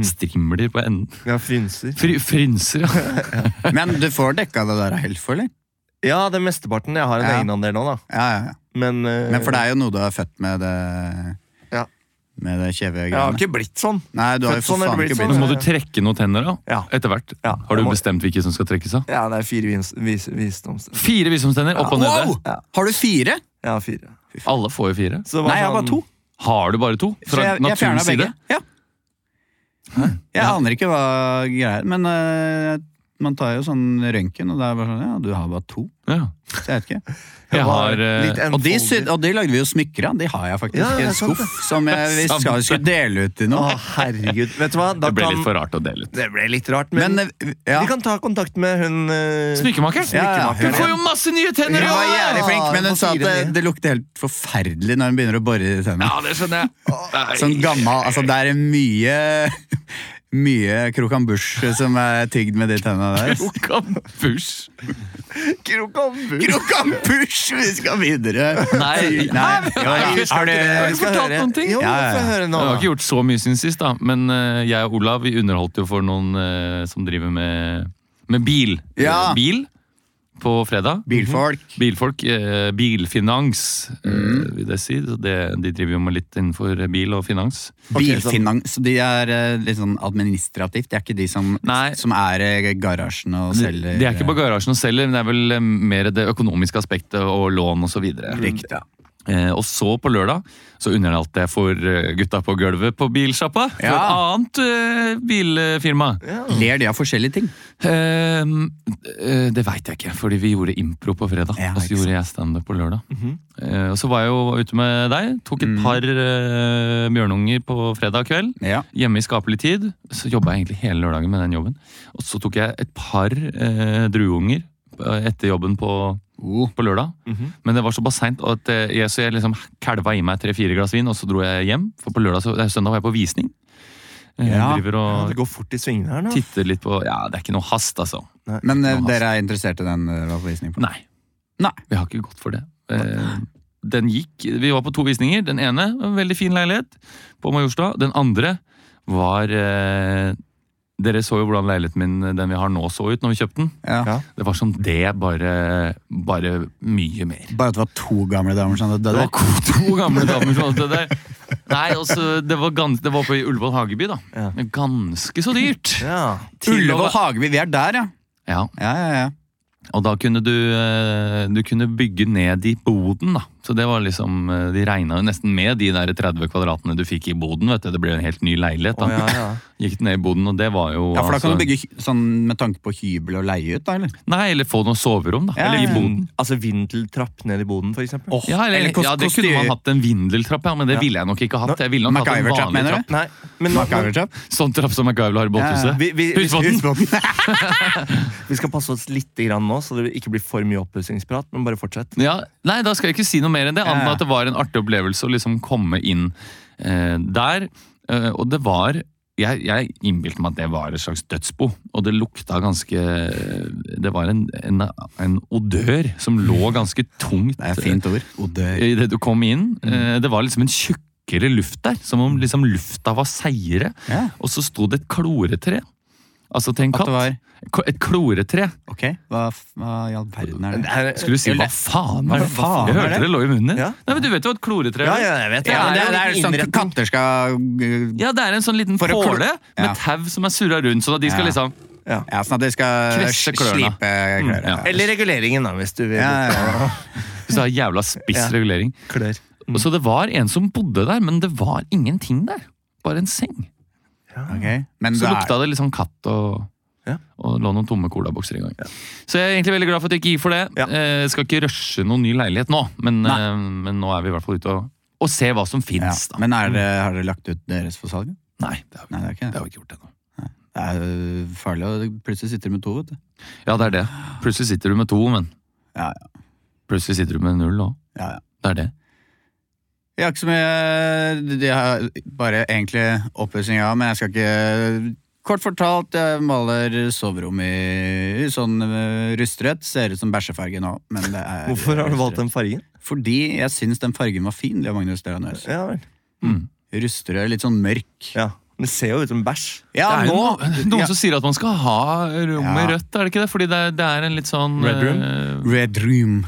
Speaker 3: strimler på enden.
Speaker 2: ja, frynser.
Speaker 3: Fry, frynser, ja.
Speaker 1: Men du får dekka det der av Helfo, eller?
Speaker 2: Ja, det er mesteparten. Jeg har en
Speaker 1: Ja.
Speaker 2: egenandel nå, da.
Speaker 1: Ja, ja, ja.
Speaker 2: Men, eh,
Speaker 1: Men for det er jo noe du er født med det
Speaker 2: Ja.
Speaker 1: Med det
Speaker 2: jeg har
Speaker 1: kjevegreiene.
Speaker 2: ikke blitt sånn.
Speaker 1: Nei, du har jo
Speaker 2: født
Speaker 1: for
Speaker 2: sånn,
Speaker 1: faen
Speaker 2: eller
Speaker 1: ikke
Speaker 2: blitt
Speaker 3: Men
Speaker 1: blitt
Speaker 3: så må du trekke noen tenner da,
Speaker 2: Ja.
Speaker 3: etter hvert.
Speaker 2: Ja,
Speaker 3: Har du
Speaker 2: jeg må-
Speaker 3: bestemt hvilke som skal trekkes av?
Speaker 2: Ja, det er fire vis, vis, visdomstenner.
Speaker 3: Fire visdomstenner, opp og nede.
Speaker 1: Wow! Har du fire?
Speaker 2: Ja, fire.
Speaker 3: Alle får jo fire.
Speaker 2: Så det var
Speaker 1: Nei, jeg har
Speaker 2: sånn-
Speaker 1: bare to.
Speaker 3: Har du bare to?
Speaker 1: Så
Speaker 3: Fra
Speaker 1: jeg, jeg fjerna
Speaker 3: naturens
Speaker 1: begge.
Speaker 3: side?
Speaker 1: Ja. Jeg aner ikke hva greia er, men eh, man tar jo sånn røntgen, og det er bare sånn Ja, du har bare to.
Speaker 3: Ja.
Speaker 1: Så jeg vet ikke.
Speaker 3: Jeg
Speaker 2: var
Speaker 3: har... eh,
Speaker 2: litt en-
Speaker 1: Og de, sy- og de lagde vi jo smykker av. De har jeg faktisk
Speaker 2: Ja,
Speaker 1: i
Speaker 2: det er
Speaker 1: en
Speaker 2: sant,
Speaker 1: skuff som jeg vi
Speaker 3: Sant.
Speaker 1: skal, skulle dele ut til
Speaker 2: Å,
Speaker 1: noen.
Speaker 2: herregud. Vet du hva? Da
Speaker 3: Det ble
Speaker 2: kan-
Speaker 3: litt for rart å dele ut.
Speaker 2: Det ble litt rart, men,
Speaker 1: Men eh, ja.
Speaker 2: vi kan ta kontakt med hun eh,
Speaker 3: Smykkemaker?
Speaker 1: Ja, ja.
Speaker 3: Du får jo masse nye tenner!
Speaker 1: Hun
Speaker 3: Ja,
Speaker 1: var
Speaker 3: ja.
Speaker 1: jævlig flink, men
Speaker 2: Ja,
Speaker 1: hun sa at
Speaker 2: fire
Speaker 1: det,
Speaker 2: nye.
Speaker 1: det lukter helt forferdelig når hun begynner å bore i tennene.
Speaker 3: Ja, det skjønner jeg. Nei.
Speaker 1: Sånn gammel, altså Det er mye Mye krokambusj som er tygd med de tennene der.
Speaker 3: Krokambush.
Speaker 2: Krokambu.
Speaker 1: Krokambusj! Vi skal videre.
Speaker 3: Nei.
Speaker 1: Nei. Jo,
Speaker 3: Nei,
Speaker 1: har
Speaker 3: Har
Speaker 1: du
Speaker 3: du fortalt noen ting?
Speaker 2: Jo,
Speaker 1: Ja, ja,
Speaker 2: vi
Speaker 1: ja.
Speaker 2: får høre nå.
Speaker 3: Jeg har
Speaker 2: da.
Speaker 3: ikke gjort så mye siden sist, da. men eh, jeg og Olav vi underholdt jo for noen eh, som driver med, med bil.
Speaker 1: Ja.
Speaker 3: Eh, Bil på fredag.
Speaker 1: Bilfolk.
Speaker 3: Bilfolk. eh, bilfinans, eh,
Speaker 1: Mm.
Speaker 3: vil jeg si. Så det, de driver jo med litt innenfor bil og finans.
Speaker 1: Bilfinans. De er eh, litt sånn administrativt. Det er ikke de som,
Speaker 3: Nei.
Speaker 1: som er eh, garasjen og
Speaker 3: Det
Speaker 1: selger eh,
Speaker 3: de er ikke på garasjen og selger, men det er vel eh, mer det økonomiske aspektet og lån osv.
Speaker 1: Riktig, ja.
Speaker 3: Eh, og så på lørdag så underholdt jeg for eh, gutta på gulvet på bilsjappa. For
Speaker 1: Ja.
Speaker 3: et annet eh, bilfirma.
Speaker 1: Ler de av forskjellige ting?
Speaker 3: Eh, eh, det veit jeg ikke, fordi vi gjorde impro på fredag.
Speaker 1: Ja,
Speaker 3: og
Speaker 1: ikke Mhm.
Speaker 3: så gjorde jeg standup på lørdag. Eh, og så var jeg jo ute med deg. Tok
Speaker 1: Mm.
Speaker 3: et par eh, bjørnunger på fredag kveld.
Speaker 1: Ja.
Speaker 3: Hjemme i skapelig tid. Så jobba jeg egentlig hele lørdagen med den jobben. Og så tok jeg et par eh, drueunger eh, etter jobben på
Speaker 1: Oh.
Speaker 3: på lørdag.
Speaker 2: Mhm.
Speaker 3: Men det var såpass seint at eh, jeg, så jeg liksom kalva i meg tre-fire glass vin, og så dro jeg hjem. For på lørdag, så, eh, søndag var jeg på visning. Eh,
Speaker 1: Ja.
Speaker 3: Driver
Speaker 2: Ja, det
Speaker 3: og
Speaker 2: går fort i svingene her nå.
Speaker 3: titter litt på Ja, det er ikke noe hast, altså.
Speaker 2: Nei.
Speaker 1: Men eh,
Speaker 3: Nå,
Speaker 1: dere er interessert i den eh, hva på visning på?
Speaker 3: Nei.
Speaker 1: Nei.
Speaker 3: Vi har ikke gått for det. Eh, den gikk Vi var på to visninger. Den ene, en veldig fin leilighet på Majorstua. Den andre var eh, Dere så jo hvordan leiligheten min, den vi har nå, så ut når vi kjøpte den.
Speaker 1: Ja.
Speaker 3: Det var som det, bare, bare mye mer.
Speaker 1: Bare at det var to gamle damer som hadde
Speaker 3: Det
Speaker 1: dødd?
Speaker 3: var ko- to gamle damer som hadde det der. Nei, også, det, var gans, det var på i Ullevål Hageby, da.
Speaker 2: Ja.
Speaker 3: Men Ganske så dyrt!
Speaker 2: Ja.
Speaker 3: Til å-
Speaker 1: Ullevål Hageby, vi er der, ja.
Speaker 3: Ja,
Speaker 1: Ja, ja, ja.
Speaker 3: Og da kunne du, eh, du kunne bygge ned i boden, da. Så det var liksom, eh, De regna jo nesten med de der 30 kvadratene du fikk i boden. vet du. Det ble jo en helt ny leilighet. da.
Speaker 2: Å, ja, ja.
Speaker 3: Gikk ned i boden, og det var jo
Speaker 1: Ja, for da kan
Speaker 3: altså-
Speaker 1: du bygge hy- sånn med tanke på hybel og leie ut, da, eller?
Speaker 3: Nei, eller få noe soverom, da.
Speaker 1: Ja,
Speaker 3: eller i
Speaker 1: ja.
Speaker 3: boden.
Speaker 2: Altså vindeltrapp ned i boden, for eksempel.
Speaker 3: Ja, eller,
Speaker 1: kos-
Speaker 3: ja, det
Speaker 1: kostyr-
Speaker 3: kunne man hatt en vindeltrapp, ja, men det
Speaker 2: Ja.
Speaker 3: ville jeg nok ikke hatt. Jeg ville nok hatt en
Speaker 1: MacGyver-trapp,
Speaker 3: vanlig
Speaker 1: mener
Speaker 3: trapp.
Speaker 1: du?
Speaker 2: Nei, men nå, men,
Speaker 1: MacGyver-trapp?
Speaker 3: Sånn trapp som MacGyver har i båthuset.
Speaker 2: vi, vi, vi,
Speaker 3: Husbåten.
Speaker 1: Husbåten.
Speaker 2: vi skal passe oss litt grann nå, så det ikke blir for mye oppussingsprat. Men bare fortsett.
Speaker 3: Ja, nei, da skal jeg ikke si noe mer enn det. Annet enn
Speaker 1: Ja.
Speaker 3: at det var en artig opplevelse å liksom komme inn eh, der. Eh, og det var Jeg, jeg innbilte meg at det var et slags dødsbo, og det lukta ganske Det var en, en, en odør som lå ganske tungt
Speaker 1: Det er et fint Mm. ord. Odør.
Speaker 3: idet du kom inn. Eh, det var liksom en tjukkere luft der, som om liksom lufta var seigere.
Speaker 1: Ja.
Speaker 3: Og så sto det et kloretre Altså, tenk
Speaker 1: At det
Speaker 3: katt.
Speaker 1: var
Speaker 3: Ko- Et kloretre.
Speaker 1: Ok, hva, f- hva i all verden er det?
Speaker 3: Skulle du si
Speaker 1: Jo,
Speaker 3: hva
Speaker 1: det-
Speaker 3: faen
Speaker 1: hva
Speaker 3: er det?
Speaker 1: faen
Speaker 3: Jeg
Speaker 1: er
Speaker 3: hørte
Speaker 1: det?
Speaker 3: det lå i munnen din.
Speaker 2: Ja.
Speaker 3: Nei, men Du vet jo hva et kloretre
Speaker 2: Ja,
Speaker 3: er?
Speaker 2: ja, jeg vet
Speaker 1: Ja, det,
Speaker 2: jo
Speaker 1: er, det er
Speaker 2: en
Speaker 1: sånn
Speaker 2: innretning.
Speaker 1: katter skal uh,
Speaker 3: Ja, det er en sånn liten
Speaker 1: For å klo-
Speaker 3: påle
Speaker 1: Ja.
Speaker 3: med tau som er surra rundt, sånn at de skal
Speaker 1: Ja.
Speaker 3: liksom
Speaker 1: Ja, sånn at de skal
Speaker 3: Kvesse
Speaker 1: sl-
Speaker 3: klørne.
Speaker 1: slipe klørne.
Speaker 3: ja.
Speaker 2: Eller reguleringen, da, hvis du vil.
Speaker 1: Ja, ja,
Speaker 3: Hvis du har jævla spiss
Speaker 2: Ja.
Speaker 3: regulering.
Speaker 2: Klør.
Speaker 1: Mm.
Speaker 3: Og Så det var en som bodde der, men det var ingenting der. Bare en seng.
Speaker 1: ok. Men
Speaker 3: Så
Speaker 1: da er-
Speaker 3: lukta det litt sånn katt og
Speaker 2: Ja.
Speaker 3: Og lå noen tomme colabokser i gang. Så jeg er egentlig veldig glad for at jeg ikke gir for det.
Speaker 2: Ja.
Speaker 3: Eh, skal ikke rushe noen ny leilighet nå, men,
Speaker 1: Nei.
Speaker 3: eh, men nå er vi i hvert fall ute og, og ser hva som
Speaker 1: ja.
Speaker 3: fins. da.
Speaker 1: Men er det, har dere lagt ut deres for salg?
Speaker 3: Nei, det har vi,
Speaker 1: Nei, det er ikke
Speaker 3: det
Speaker 1: det.
Speaker 3: har vi ikke gjort ennå.
Speaker 1: Det er jo farlig å plutselig sitte med to, vet du.
Speaker 3: Ja, det er det. Plutselig sitter du med to, men
Speaker 1: Ja,
Speaker 3: plutselig sitter du med null òg.
Speaker 1: Ja, ja.
Speaker 3: Det er det.
Speaker 1: Jeg har ikke så mye De har bare egentlig oppussing, ja, men jeg skal ikke Kort fortalt, jeg maler soverom i sånn eh, rustrødt. Ser ut som bæsjefarge nå, men det er
Speaker 2: Hvorfor har du valgt den fargen?
Speaker 1: Fordi jeg syns den fargen var fin, Leo Magnus Delanøs.
Speaker 2: Ja vel.
Speaker 1: Rustrød, litt sånn mørk.
Speaker 2: Ja. Det ser jo ut som bæsj.
Speaker 1: Ja,
Speaker 3: det er jo
Speaker 1: nå!
Speaker 3: noen, noen
Speaker 1: Ja.
Speaker 3: som sier at man skal ha rommet
Speaker 1: Ja.
Speaker 3: rødt, er det ikke det? Fordi det er, det er en litt sånn
Speaker 2: Red room?
Speaker 3: eh,
Speaker 1: Red room.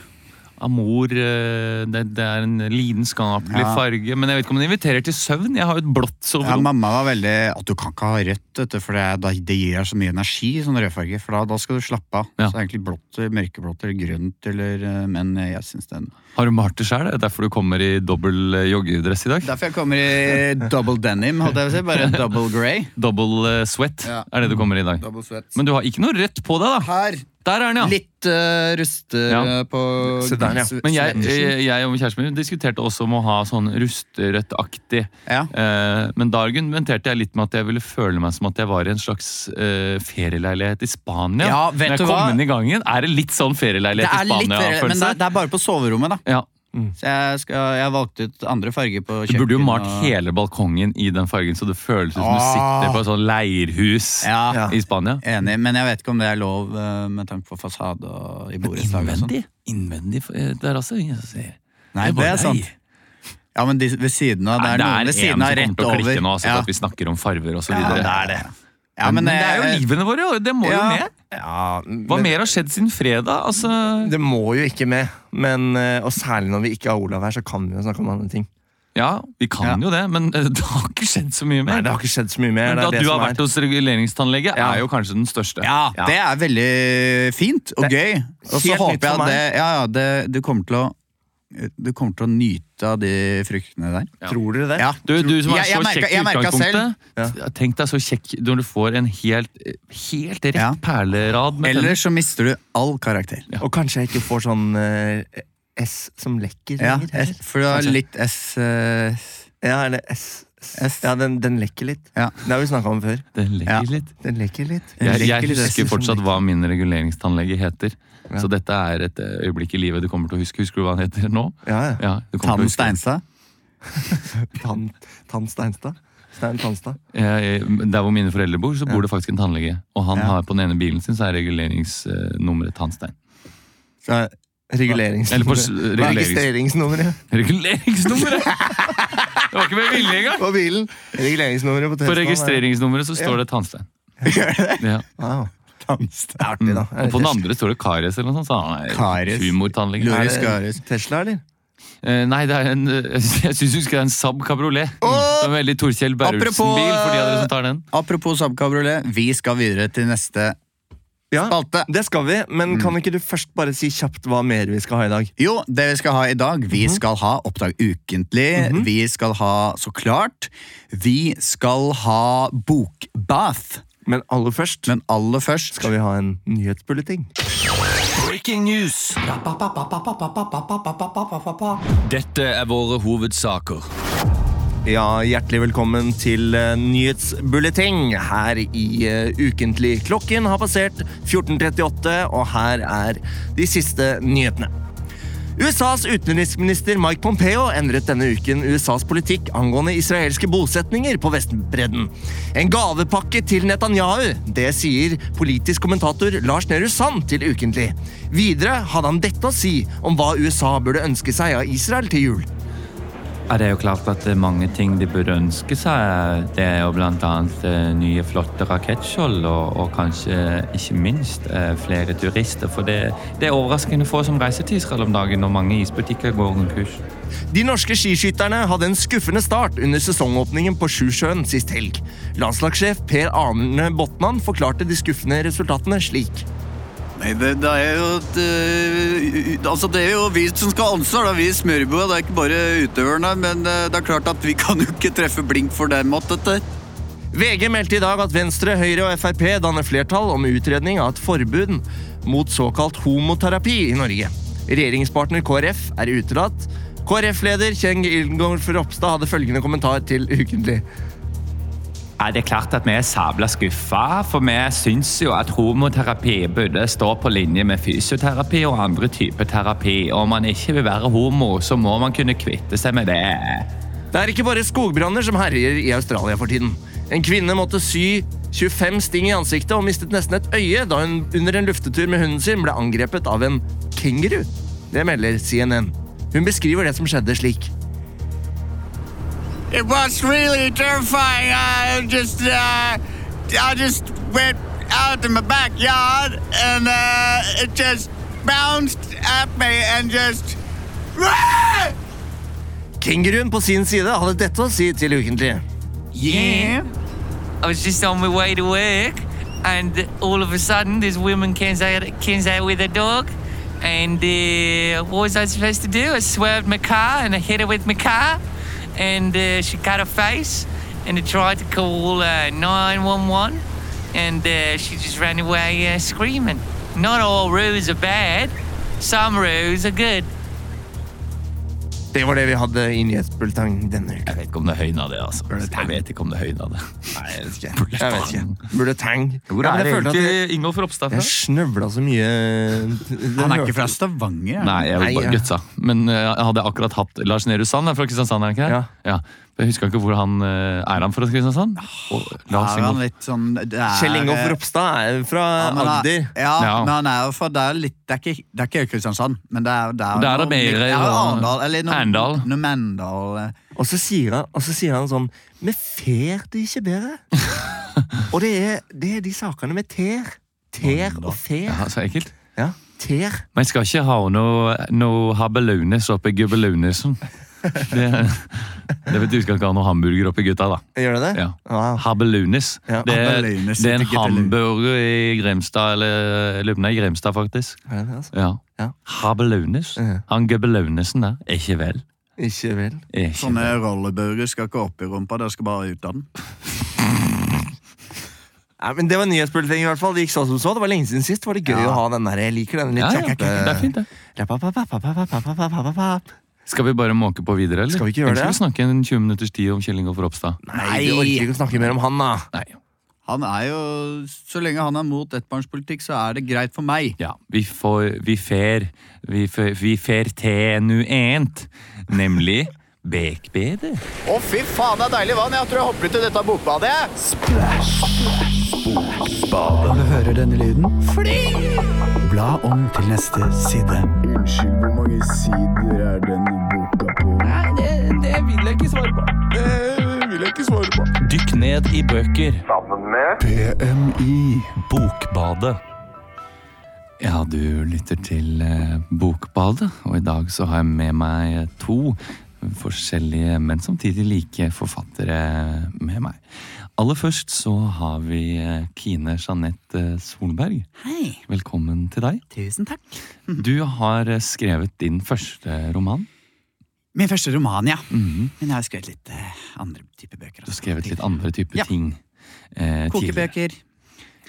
Speaker 3: amor eh, det, det er en lidenskapelig
Speaker 1: Ja.
Speaker 3: farge. Men jeg vet ikke om den inviterer til søvn. Jeg har jo et blått
Speaker 1: Ja,
Speaker 3: soverom.
Speaker 1: mamma var veldig at du kan ikke ha rødt, vet du, for det, er- da, det gir deg så mye energi, sånn rødfarge. For da, da skal du slappe av.
Speaker 3: Ja.
Speaker 1: Så egentlig blått, mørkeblått eller grønt, eller, eh, men jeg syns den
Speaker 3: har du malt det sjøl? Er det derfor du kommer i dobbel eh, joggedress i dag?
Speaker 1: Derfor jeg kommer i double denim, holdt jeg på å si. Bare double grey.
Speaker 3: Double eh, sweat
Speaker 1: Ja.
Speaker 3: er det du kommer i i dag.
Speaker 1: Double sweat.
Speaker 3: Men du har ikke noe rødt på deg, da.
Speaker 1: Her,
Speaker 3: Der er den, ja.
Speaker 1: litt eh, ruste
Speaker 3: Ja.
Speaker 1: på
Speaker 2: Se der, ja.
Speaker 1: sve-
Speaker 3: Men jeg, eh,
Speaker 1: svettersen.
Speaker 3: jeg, jeg og kjæresten min diskuterte også om å ha sånn rusterødt-aktig.
Speaker 1: Ja.
Speaker 3: Eh, men da argumenterte jeg litt med at jeg ville føle meg som at jeg var i en slags eh, ferieleilighet i Spania.
Speaker 1: Ja, vet
Speaker 3: Når jeg
Speaker 1: du
Speaker 3: kom
Speaker 1: hva?
Speaker 3: inn i gangen, er det litt sånn
Speaker 1: Det
Speaker 3: ferieleilighet
Speaker 1: er
Speaker 3: i
Speaker 1: litt mer- men det,
Speaker 3: Spania-følelse.
Speaker 1: er- det er bare på soverommet, da.
Speaker 3: Ja,
Speaker 1: Så jeg, skal, jeg valgte ut andre farger på
Speaker 3: Du
Speaker 1: kjøkkenet.
Speaker 3: burde jo malt
Speaker 1: og-
Speaker 3: hele balkongen i den fargen, så det føles ut som du sitter på et sånt leirhus
Speaker 1: Ja,
Speaker 2: Ja.
Speaker 3: i Spania.
Speaker 1: Enig, men jeg vet ikke om det er lov eh, med tanke på fasade og i borettslag. og sånn.
Speaker 3: Innvendig. Innvendig eh, terrasse. Ingen som ser.
Speaker 1: Nei,
Speaker 3: bare
Speaker 1: det er sant.
Speaker 3: deg.
Speaker 1: Ja, men de, ved siden av, det er,
Speaker 3: Nei,
Speaker 1: noen ved siden av
Speaker 3: en som
Speaker 1: rett
Speaker 3: kommer til å
Speaker 1: over.
Speaker 3: klikke nå, altså,
Speaker 1: ja.
Speaker 3: at vi snakker om farver og så
Speaker 1: ja,
Speaker 3: videre.
Speaker 1: det er det. Ja,
Speaker 3: men,
Speaker 1: men,
Speaker 3: det er jo
Speaker 1: eh,
Speaker 3: livene våre, og det må
Speaker 1: ja.
Speaker 3: jo med.
Speaker 2: Ja,
Speaker 3: Hva
Speaker 2: men-
Speaker 3: mer har skjedd siden fredag? Altså,
Speaker 2: Det må jo ikke med. Men, eh, og særlig når vi ikke har Olav her, så kan vi jo snakke om andre ting.
Speaker 3: ja, vi kan
Speaker 1: Ja.
Speaker 3: jo det, men eh, det har ikke skjedd så mye
Speaker 2: Nei,
Speaker 3: mer.
Speaker 2: det har ikke skjedd så mye mer.
Speaker 3: men
Speaker 2: det
Speaker 3: da
Speaker 2: er det
Speaker 3: du
Speaker 2: som
Speaker 3: har vært
Speaker 2: er.
Speaker 3: hos reguleringstannlege,
Speaker 2: Ja.
Speaker 3: er jo kanskje den største.
Speaker 1: Ja, det er veldig fint og gøy. Og så
Speaker 2: helt nytt
Speaker 1: håper jeg
Speaker 2: for
Speaker 1: at
Speaker 2: meg.
Speaker 1: det, ja, ja, det, du, kommer til å, du kommer til å nyte av de fruktene der.
Speaker 2: Tror dere det?
Speaker 1: Ja.
Speaker 3: Du, du som er
Speaker 1: Jeg- jeg
Speaker 3: så
Speaker 1: merka-
Speaker 3: kjekk i
Speaker 1: jeg merka
Speaker 3: utgangspunktet. Tenk deg så kjekk når du får en helt, helt rett
Speaker 1: Ja.
Speaker 3: perlerad med
Speaker 1: Ellers så mister du all karakter.
Speaker 2: Og kanskje jeg ikke får sånn eh, S som lekker
Speaker 1: Ja,
Speaker 2: lenger.
Speaker 1: S-
Speaker 2: heller.
Speaker 1: for du har
Speaker 2: Kanskje.
Speaker 1: litt S eh, s-
Speaker 2: Ja, eller S.
Speaker 1: S.
Speaker 2: Ja, den, den lekker litt.
Speaker 1: Ja.
Speaker 2: Det har vi snakka om før.
Speaker 3: tenner. Det
Speaker 1: Ja.
Speaker 3: lekker litt.
Speaker 2: Den lekker litt.
Speaker 1: Den
Speaker 3: Jeg,
Speaker 1: lekker
Speaker 3: jeg
Speaker 1: litt,
Speaker 3: husker
Speaker 1: synes jeg
Speaker 3: fortsatt
Speaker 1: den
Speaker 3: hva min reguleringstannlege heter.
Speaker 2: Ja.
Speaker 3: Så dette er et eh, øyeblikk i livet du kommer til å huske. Husker du hva han heter nå?
Speaker 2: Ja, ja.
Speaker 3: Ja, du kommer til å
Speaker 1: Tann
Speaker 3: huske det.
Speaker 1: Steinstad.
Speaker 2: Tann Tann Steinstad. Stein Tanstad.
Speaker 3: Eh, Der hvor mine foreldre bor, så bor det faktisk en tannlege. Og han
Speaker 1: Ja.
Speaker 3: har på den ene bilen sin så er reguleringsnummeret tannstein.
Speaker 2: Så, Regulerings...
Speaker 3: Eller på s- regulerings-
Speaker 2: Registreringsnummeret
Speaker 3: Reguleringsnummeret! Det var ikke med vilje engang!
Speaker 2: på bilen! Reguleringsnummeret på
Speaker 3: På
Speaker 2: Teslaen.
Speaker 3: registreringsnummeret så står det tannstein. Ja.
Speaker 2: Wow.
Speaker 1: Tannstein.
Speaker 2: Artig, da.
Speaker 3: Mm. Og på den andre står det karies eller noe sånt. Så han er
Speaker 1: Karies.
Speaker 3: Humortannlege.
Speaker 1: Lurer.
Speaker 2: Er
Speaker 1: Arisk,
Speaker 2: det
Speaker 1: arisk.
Speaker 2: Tesla, eller?
Speaker 3: Eh, Nei, det er en eh, Jeg syns du husker det er en Saab kabriolet.
Speaker 1: Åh!
Speaker 3: Det er en veldig Torkjell Berulfsen-bil,
Speaker 1: Apropos,
Speaker 3: for de av dere som tar den.
Speaker 1: Apropos Saab Cabriolet, vi skal videre til neste
Speaker 2: Ja.
Speaker 1: spalte.
Speaker 2: Det skal vi, men kan ikke du først bare si kjapt hva mer vi skal ha i dag?
Speaker 1: Jo, det vi skal ha i dag, vi
Speaker 4: Mhm.
Speaker 1: skal ha Oppdag ukentlig, vi skal ha Så klart, vi skal ha Bokbath.
Speaker 2: Men aller først
Speaker 1: Men aller først
Speaker 2: skal vi ha en nyhetsbulleting.
Speaker 4: Breaking news. Dette er våre hovedsaker.
Speaker 2: Ja, hjertelig velkommen til eh, nyhetsbulleting her i eh, Ukentlig. Klokken har passert 14.38, og her er de siste nyhetene. USAs utenriksminister Mike Pompeo endret denne uken USAs politikk angående israelske bosetninger på Vestbredden. En gavepakke til Netanyahu, det sier politisk kommentator Lars Nehru Sand til Ukentlig. Videre hadde han dette å si om hva USA burde ønske seg av Israel til jul.
Speaker 3: Ja, Det er jo klart at det er mange ting de burde ønske seg. eh, Det er jo bl.a. nye, flotte rakettskjold, og, og kanskje ikke minst eh, flere turister. For det, det er overraskende få som reiser til Israel om dagen, og mange isbutikker går konkurs.
Speaker 2: De norske skiskytterne hadde en skuffende start under sesongåpningen på Sjusjøen sist helg. Landslagssjef Per Arne Botnan forklarte de skuffende resultatene slik.
Speaker 5: Nei, det, det er jo et, eh, Altså, det er jo vi som skal ha ansvar, da. Vi i smørbrødet. Det er ikke bare utøverne. Men eh, det er klart at vi kan jo ikke treffe blink for dem at dette.
Speaker 2: VG meldte i dag at Venstre, Høyre og Frp danner flertall om utredning av et forbud mot såkalt homoterapi i Norge. Regjeringspartner KrF er utelatt. KrF-leder Kjeng Ilgolf Ropstad hadde følgende kommentar til Ukentlig.
Speaker 6: Ja, det er klart at vi er sabla skuffa, for vi syns jo at homoterapi burde stå på linje med fysioterapi og andre typer terapi. Og om man ikke vil være homo, så må man kunne kvitte seg med det.
Speaker 2: Det er ikke bare skogbranner som herjer i Australia for tiden. En kvinne måtte sy 25 sting i ansiktet og mistet nesten et øye da hun under en luftetur med hunden sin ble angrepet av en kenguru. Det melder CNN. Hun beskriver det som skjedde slik.
Speaker 5: It was really terrifying. I just, uh, I just went out in my backyard, and uh, it just bounced at me and just.
Speaker 2: Kenguruen på sin side hadde dette å si til ukentlig.
Speaker 6: Yeah.
Speaker 7: I was just on my way to work, and all of a sudden, this woman comes out, comes out with a dog. And uh, what was I supposed to do? I swerved my car and I hit her with my car, and uh, she cut her face. And I tried to call uh, 911, and uh, she just ran away uh, screaming. Not all roos are bad, some roos are good.
Speaker 2: Det var det vi hadde i nyhetsbulletang denne uka.
Speaker 6: Jeg vet ikke om det høyna det, altså. Jeg vet ikke om det høyna det. Nei, jeg vet ikke.
Speaker 2: Jeg vet ikke. Bulletang.
Speaker 1: Hvor
Speaker 2: Ja, men
Speaker 1: er
Speaker 2: jeg
Speaker 1: det
Speaker 2: følte at jeg-
Speaker 3: Ingolf Ropstad
Speaker 2: Jeg snøvla så mye
Speaker 1: Han er ikke fra Stavanger?
Speaker 3: Nei, jeg var
Speaker 2: Nei,
Speaker 3: bare
Speaker 2: ja.
Speaker 3: gutsa. Men eh, jeg hadde akkurat hatt Lars Nehru Sand er fra Kristiansand, er han ikke det?
Speaker 2: Ja.
Speaker 3: Jeg husker ikke hvor han eh, Er han fra Kristiansand? Og Lars
Speaker 1: Er han
Speaker 3: Ingolf-
Speaker 1: litt sånn det er-
Speaker 2: Kjell Ingolf Ropstad er fra
Speaker 1: Ja, men han-
Speaker 2: Agder.
Speaker 1: Ja,
Speaker 3: Ja.
Speaker 1: men han er jo fra Det er, litt, det er ikke, det er ikke Kristiansand, men det er, det er,
Speaker 3: Det er
Speaker 1: noe-
Speaker 3: da mer-
Speaker 1: det er jo Arendal. Eller noe,
Speaker 3: Arendal.
Speaker 1: noe Mandal. eh.
Speaker 2: Og så sier han, og så sier han sånn Vi fer det ikke bedre. og det er, det er de sakene med ter. Ter og fer.
Speaker 3: Ja, så ekkelt.
Speaker 2: Ja, ter.
Speaker 3: Men jeg skal ikke ha noe, noe habbelunes oppi gubbelunesen. Det, det vet du skal ikke ha noe hamburger oppi gutta, da.
Speaker 2: Gjør det det?
Speaker 3: Ja.
Speaker 2: Wow.
Speaker 3: Habbelunes.
Speaker 2: Ja,
Speaker 3: det, er-
Speaker 1: habbelunes
Speaker 3: det er en
Speaker 1: til guttelun.
Speaker 3: hamburger i Grimstad, eller jeg lurer på om det er i Grimstad, faktisk.
Speaker 2: Er det det, altså?
Speaker 3: Ja.
Speaker 2: Ja.
Speaker 3: Habbelunes.
Speaker 2: Ja.
Speaker 3: Han gubbelunesen der. Er Ikke vel.
Speaker 2: Ikke vel.
Speaker 3: Er Ikke vel.
Speaker 1: Sånne rollerburger skal ikke opp i rumpa, dere skal bare ut av den.
Speaker 2: Nei, men Det var nyhetsbulleting, i hvert fall. Det gikk så som så. Det var lenge siden sist. Var det gøy å ha den der? Jeg liker den litt
Speaker 3: Ja, ja,
Speaker 2: kjakke-
Speaker 3: det er fint, det.
Speaker 2: Rapapapapapapapapapapap.
Speaker 3: Skal vi bare måke på videre, eller?
Speaker 2: Skal vi ikke gjøre
Speaker 3: Eller
Speaker 2: det?
Speaker 3: Skal vi snakke en 20 minutters tid om Kjell Ingolf Ropstad?
Speaker 2: Nei, vi orker ikke å snakke mer om han, da.
Speaker 3: Nei.
Speaker 1: Han er jo, Så lenge han er mot ettbarnspolitikk, så er det greit for meg.
Speaker 3: Ja, vi får Vi fer Vi fer, vi fer til nu ent, nemlig bekbedet.
Speaker 5: Å, fy faen, det er deilig vann. Jeg tror jeg hopper ut i dette bokbadet.
Speaker 8: Du hører denne lyden? Fly! Bla om til neste side. Unnskyld, hvor mange sider er denne boka på?
Speaker 4: Dykk ned i bøker.
Speaker 8: PMI.
Speaker 4: Bokbadet.
Speaker 3: Ja, du lytter til eh, Bokbadet, og i dag så har jeg med meg to forskjellige, men samtidig like forfattere med meg. Aller først så har vi eh, Kine Jeanette eh, Solberg.
Speaker 1: Hei.
Speaker 3: Velkommen til deg.
Speaker 1: Tusen takk.
Speaker 3: Du har eh, skrevet din første roman.
Speaker 1: Min første roman, ja.
Speaker 3: Mhm.
Speaker 1: Men jeg har skrevet litt eh, andre typer bøker.
Speaker 3: Du har
Speaker 1: også.
Speaker 3: skrevet litt andre typer
Speaker 1: Ja.
Speaker 3: ting. Eh, tidligere.
Speaker 1: Kokebøker.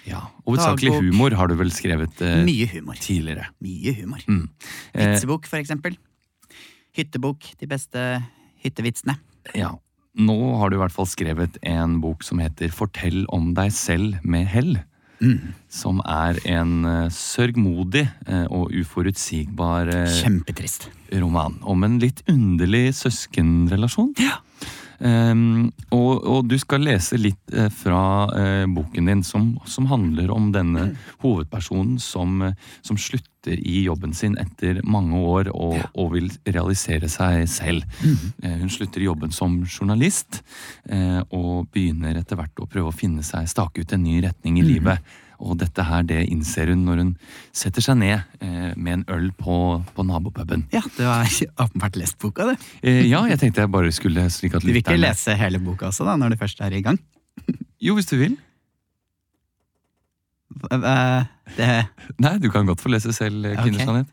Speaker 3: Ja. Hovedsakelig
Speaker 1: Dagbok.
Speaker 3: humor har du vel skrevet eh,
Speaker 1: Mye humor.
Speaker 3: tidligere.
Speaker 1: Mye humor.
Speaker 3: Mm. Eh,
Speaker 1: Vitsebok, for eksempel. Hyttebok. De beste hyttevitsene.
Speaker 3: ja. Nå har du i hvert fall skrevet en bok som heter Fortell om deg selv med hell.
Speaker 1: Mm.
Speaker 3: Som er en eh, sørgmodig eh, og uforutsigbar eh,
Speaker 1: Kjempetrist.
Speaker 3: roman om en litt underlig søskenrelasjon. Ehm, og, og du skal lese litt eh, fra eh, boken din som, som handler om denne hovedpersonen som, eh, som slutter gutter i jobben sin etter mange år og, og vil realisere seg selv. Eh, Hun slutter i jobben som journalist eh, og begynner etter hvert å prøve å finne seg, stake ut en ny retning i livet. Og dette her, det innser hun når hun setter seg ned eh, med en øl på, på nabopuben.
Speaker 1: Ja, du har åpenbart lest boka, du.
Speaker 3: Eh, ja, jeg tenkte jeg bare skulle slik at
Speaker 1: Du vil ikke
Speaker 3: lytterne-
Speaker 1: lese hele boka også, da, når du først er i gang?
Speaker 3: Jo, hvis du vil.
Speaker 1: Eh, Det
Speaker 3: Nei, du kan godt få lese selv eh,
Speaker 1: Ok.
Speaker 3: Kvinnesannhet.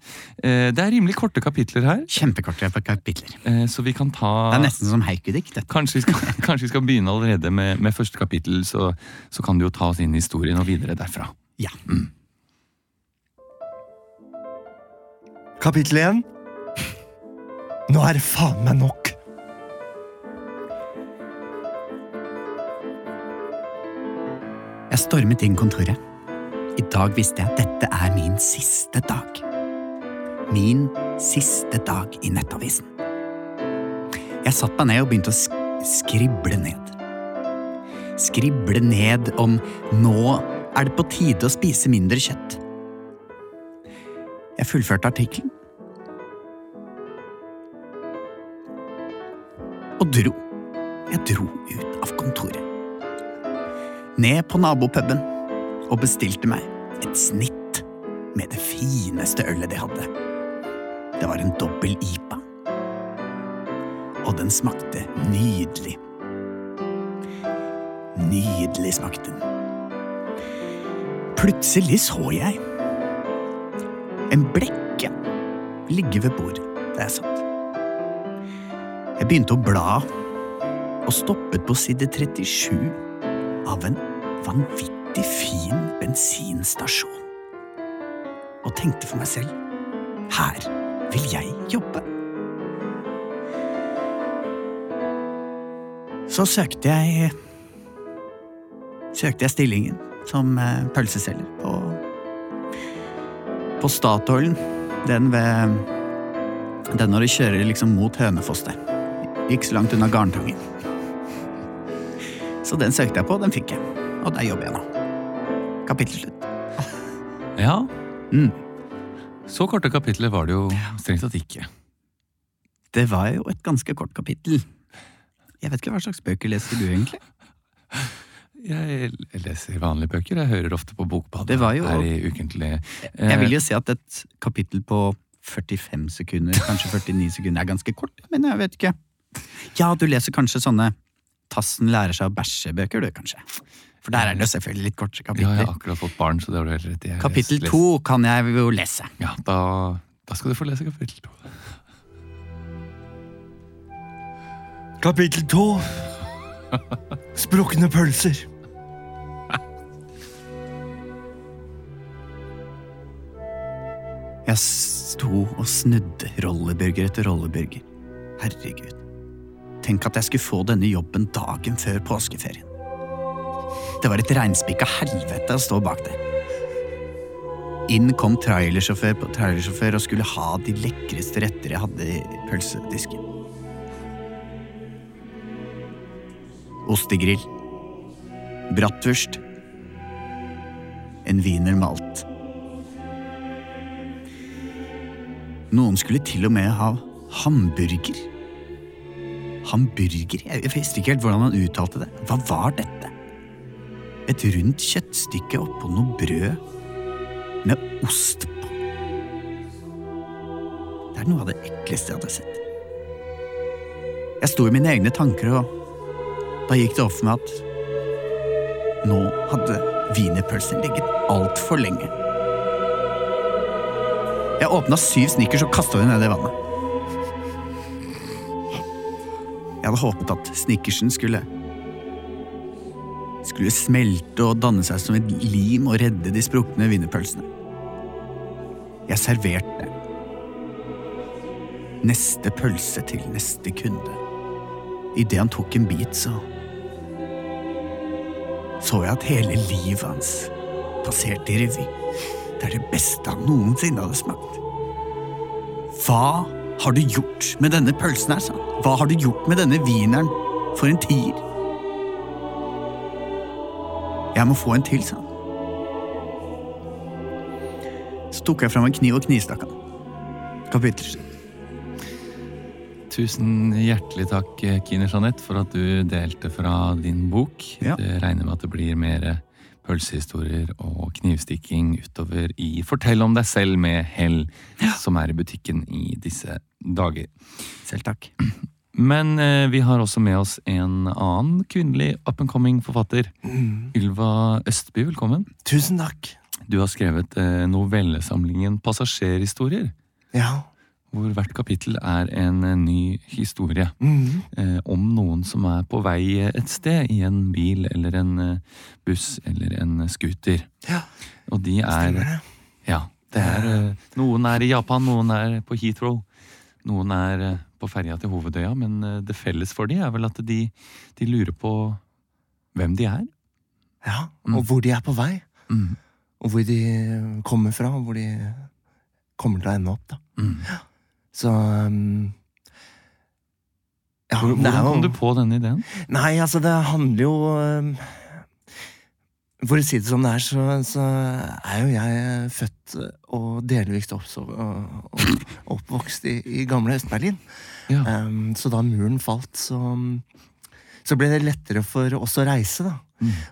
Speaker 3: Eh, Det er rimelig korte kapitler her,
Speaker 1: Kjempekorte kapitler.
Speaker 3: eh, så vi kan
Speaker 1: Det
Speaker 3: ta
Speaker 1: er nesten som haikudikt. dette.
Speaker 3: Kanskje vi skal, kanskje vi skal begynne allerede med, med første kapittel, så, så kan du jo ta oss inn i historien og videre derfra.
Speaker 1: Ja.
Speaker 2: Kapittel 1 Nå er det faen meg nok.
Speaker 1: Jeg stormet inn kontoret. I dag visste jeg at dette er min siste dag. Min siste dag i Nettavisen. Jeg satte meg ned og begynte å sk skrible ned. Skrible ned om nå er det på tide å spise mindre kjøtt. Jeg fullførte artikkelen. Og dro. Jeg dro ut av kontoret ned på nabopuben og bestilte meg et snitt med det fineste ølet de hadde. Det var en dobbel IPA, og den smakte nydelig. Nydelig smakte den. Plutselig så jeg en blekke ligge ved bordet der jeg satt. Jeg begynte å bla og stoppet på side 37 av en vanvittig fin bensinstasjon. Og tenkte for meg selv her vil jeg jobbe. Så søkte jeg søkte jeg stillingen som eh, pølseselger på på Statoilen. Den ved den når du kjører liksom mot Hønefoss der. Ikke så langt unna Garntangen. Så den søkte jeg på, den fikk jeg. Og der jobber jeg nå. Kapittel slutt.
Speaker 3: Ja,
Speaker 1: Mm.
Speaker 3: så korte kapitler var det jo strengt tatt ikke.
Speaker 1: Det var jo et ganske kort kapittel. Jeg vet ikke hva slags bøker leser du egentlig?
Speaker 3: Jeg leser vanlige bøker, jeg hører ofte på Bokbadet
Speaker 1: Det var jo-
Speaker 3: her i ukentlig.
Speaker 1: Jeg vil jo si at et kapittel på 45 sekunder, kanskje 49 sekunder, er ganske kort, men jeg vet ikke. Ja, du leser kanskje sånne Tassen lærer seg å bæsje-bøker, du, kanskje. For der er det jo selvfølgelig litt kortere
Speaker 3: Eh, Ja, jeg har
Speaker 1: kapitler.
Speaker 3: akkurat fått barn, så det har du helt rett i. Jeg
Speaker 1: Kapittel
Speaker 3: leser-
Speaker 1: to kan jeg jo lese.
Speaker 3: Ja, da, da skal du få lese kapittel to.
Speaker 2: Kapittel 2 Sprukne pølser.
Speaker 1: Jeg sto og snudde rolleburger etter rolleburger. Herregud. Tenk at jeg skulle få denne jobben dagen før påskeferien. Det var et regnspikka helvete å stå bak der. Inn kom trailersjåfør på trailersjåfør og skulle ha de lekreste retter jeg hadde i pølsedisken. Ostegrill. Bratwurst. En wiener malt. Noen skulle til og med ha hamburger. Hamburger? Jeg jeg visste ikke helt hvordan han uttalte det. Hva var dette? Et rundt kjøttstykke oppå noe brød med ost på. Det er noe av det ekleste jeg hadde sett. Jeg sto i mine egne tanker, og da gikk det opp for meg at nå hadde wienerpølsen ligget altfor lenge. Jeg åpna syv snickers og kasta dem ned i vannet. Jeg hadde håpet at snickersen skulle skulle smelte og danne seg som et lim og redde de sprukne wienerpølsene. Jeg serverte neste pølse til neste kunde. Idet han tok en bit, så så jeg at hele livet hans passerte i revy. Det er det beste han noensinne hadde smakt. Hva har du gjort med denne pølsen her, sa han. Hva har du gjort med denne wieneren for en tier? Jeg må få en til, sa han. Så tok jeg fram en kniv og knivstakk han. Kapitler.
Speaker 3: Tusen hjertelig takk, Kine Jeanette, for at du delte fra din bok.
Speaker 1: Ja.
Speaker 3: Det regner med at det blir mer pølsehistorier og knivstikking utover i Fortell om deg selv med Hell, som er i butikken i disse dager.
Speaker 1: Selv takk.
Speaker 3: Men eh, vi har også med oss en annen kvinnelig up and coming forfatter.
Speaker 1: Mm.
Speaker 3: Ylva Østby, velkommen.
Speaker 2: Tusen takk.
Speaker 3: Du har skrevet eh, novellesamlingen Passasjerhistorier,
Speaker 2: Ja.
Speaker 3: hvor hvert kapittel er en eh, ny historie.
Speaker 2: Mhm.
Speaker 3: eh, om noen som er på vei eh, et sted i en bil eller en eh, buss eller en scooter.
Speaker 2: Ja.
Speaker 3: Og de er
Speaker 2: Stemmer det.
Speaker 3: Ja. Det er, eh, noen er i Japan, noen er på Heathrow. Noen er eh, på ferja til Hovedøya, men eh, det felles for de er vel at de, de lurer på hvem de er.
Speaker 2: Ja, og hvor de er på vei.
Speaker 3: Mm.
Speaker 2: Og hvor de kommer fra, og hvor de kommer til å ende opp, da.
Speaker 3: mm.
Speaker 2: Ja. Så um, ja, det er
Speaker 3: Hvordan
Speaker 2: jo-
Speaker 3: kom du på denne ideen?
Speaker 2: Nei, altså, det handler jo um, For å si det som det er, så, så er jo jeg eh, født og delvis oppsov, og, og, oppvokst i, i gamle Øst-Berlin.
Speaker 3: Ja.
Speaker 2: Um, så da muren falt, så, um, så ble det lettere for oss å reise, da.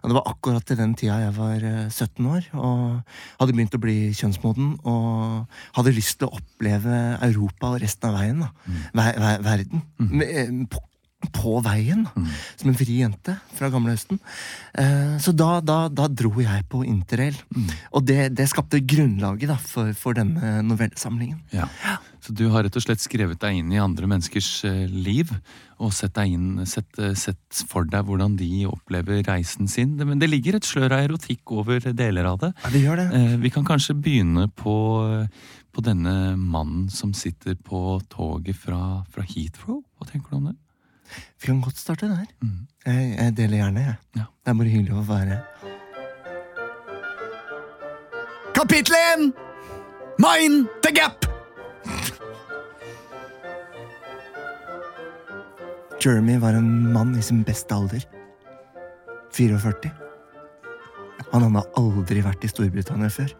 Speaker 2: Og det var akkurat til den tida jeg var eh, 17 år og hadde begynt å bli kjønnsmoden og hadde lyst til å oppleve Europa og resten av veien. Da. Ver ver verden. Med, eh, på, på veien, da. som en fri jente fra gamle Østen. Eh, så da, da, da dro jeg på interrail. Og det, det skapte grunnlaget da, for, for denne novellesamlingen.
Speaker 3: Ja. Så du har rett og slett skrevet deg inn i andre menneskers eh, liv, og sett, deg inn, sett, eh, sett for deg hvordan de opplever reisen sin. Det- Men det ligger et slør av erotikk over deler av det.
Speaker 2: Ja, det gjør det.
Speaker 3: Eh, Vi kan kanskje begynne på, eh, på denne mannen som sitter på toget fra, fra Heathrow. Hva tenker du om det?
Speaker 2: Vi kan godt starte der. Jeg, jeg deler gjerne, jeg.
Speaker 3: Ja.
Speaker 2: Det er bare hyggelig å være
Speaker 1: Kapittel 1! Mind the gap!
Speaker 2: Jeremy var en mann i sin beste alder. 44. Han hadde aldri vært i Storbritannia før,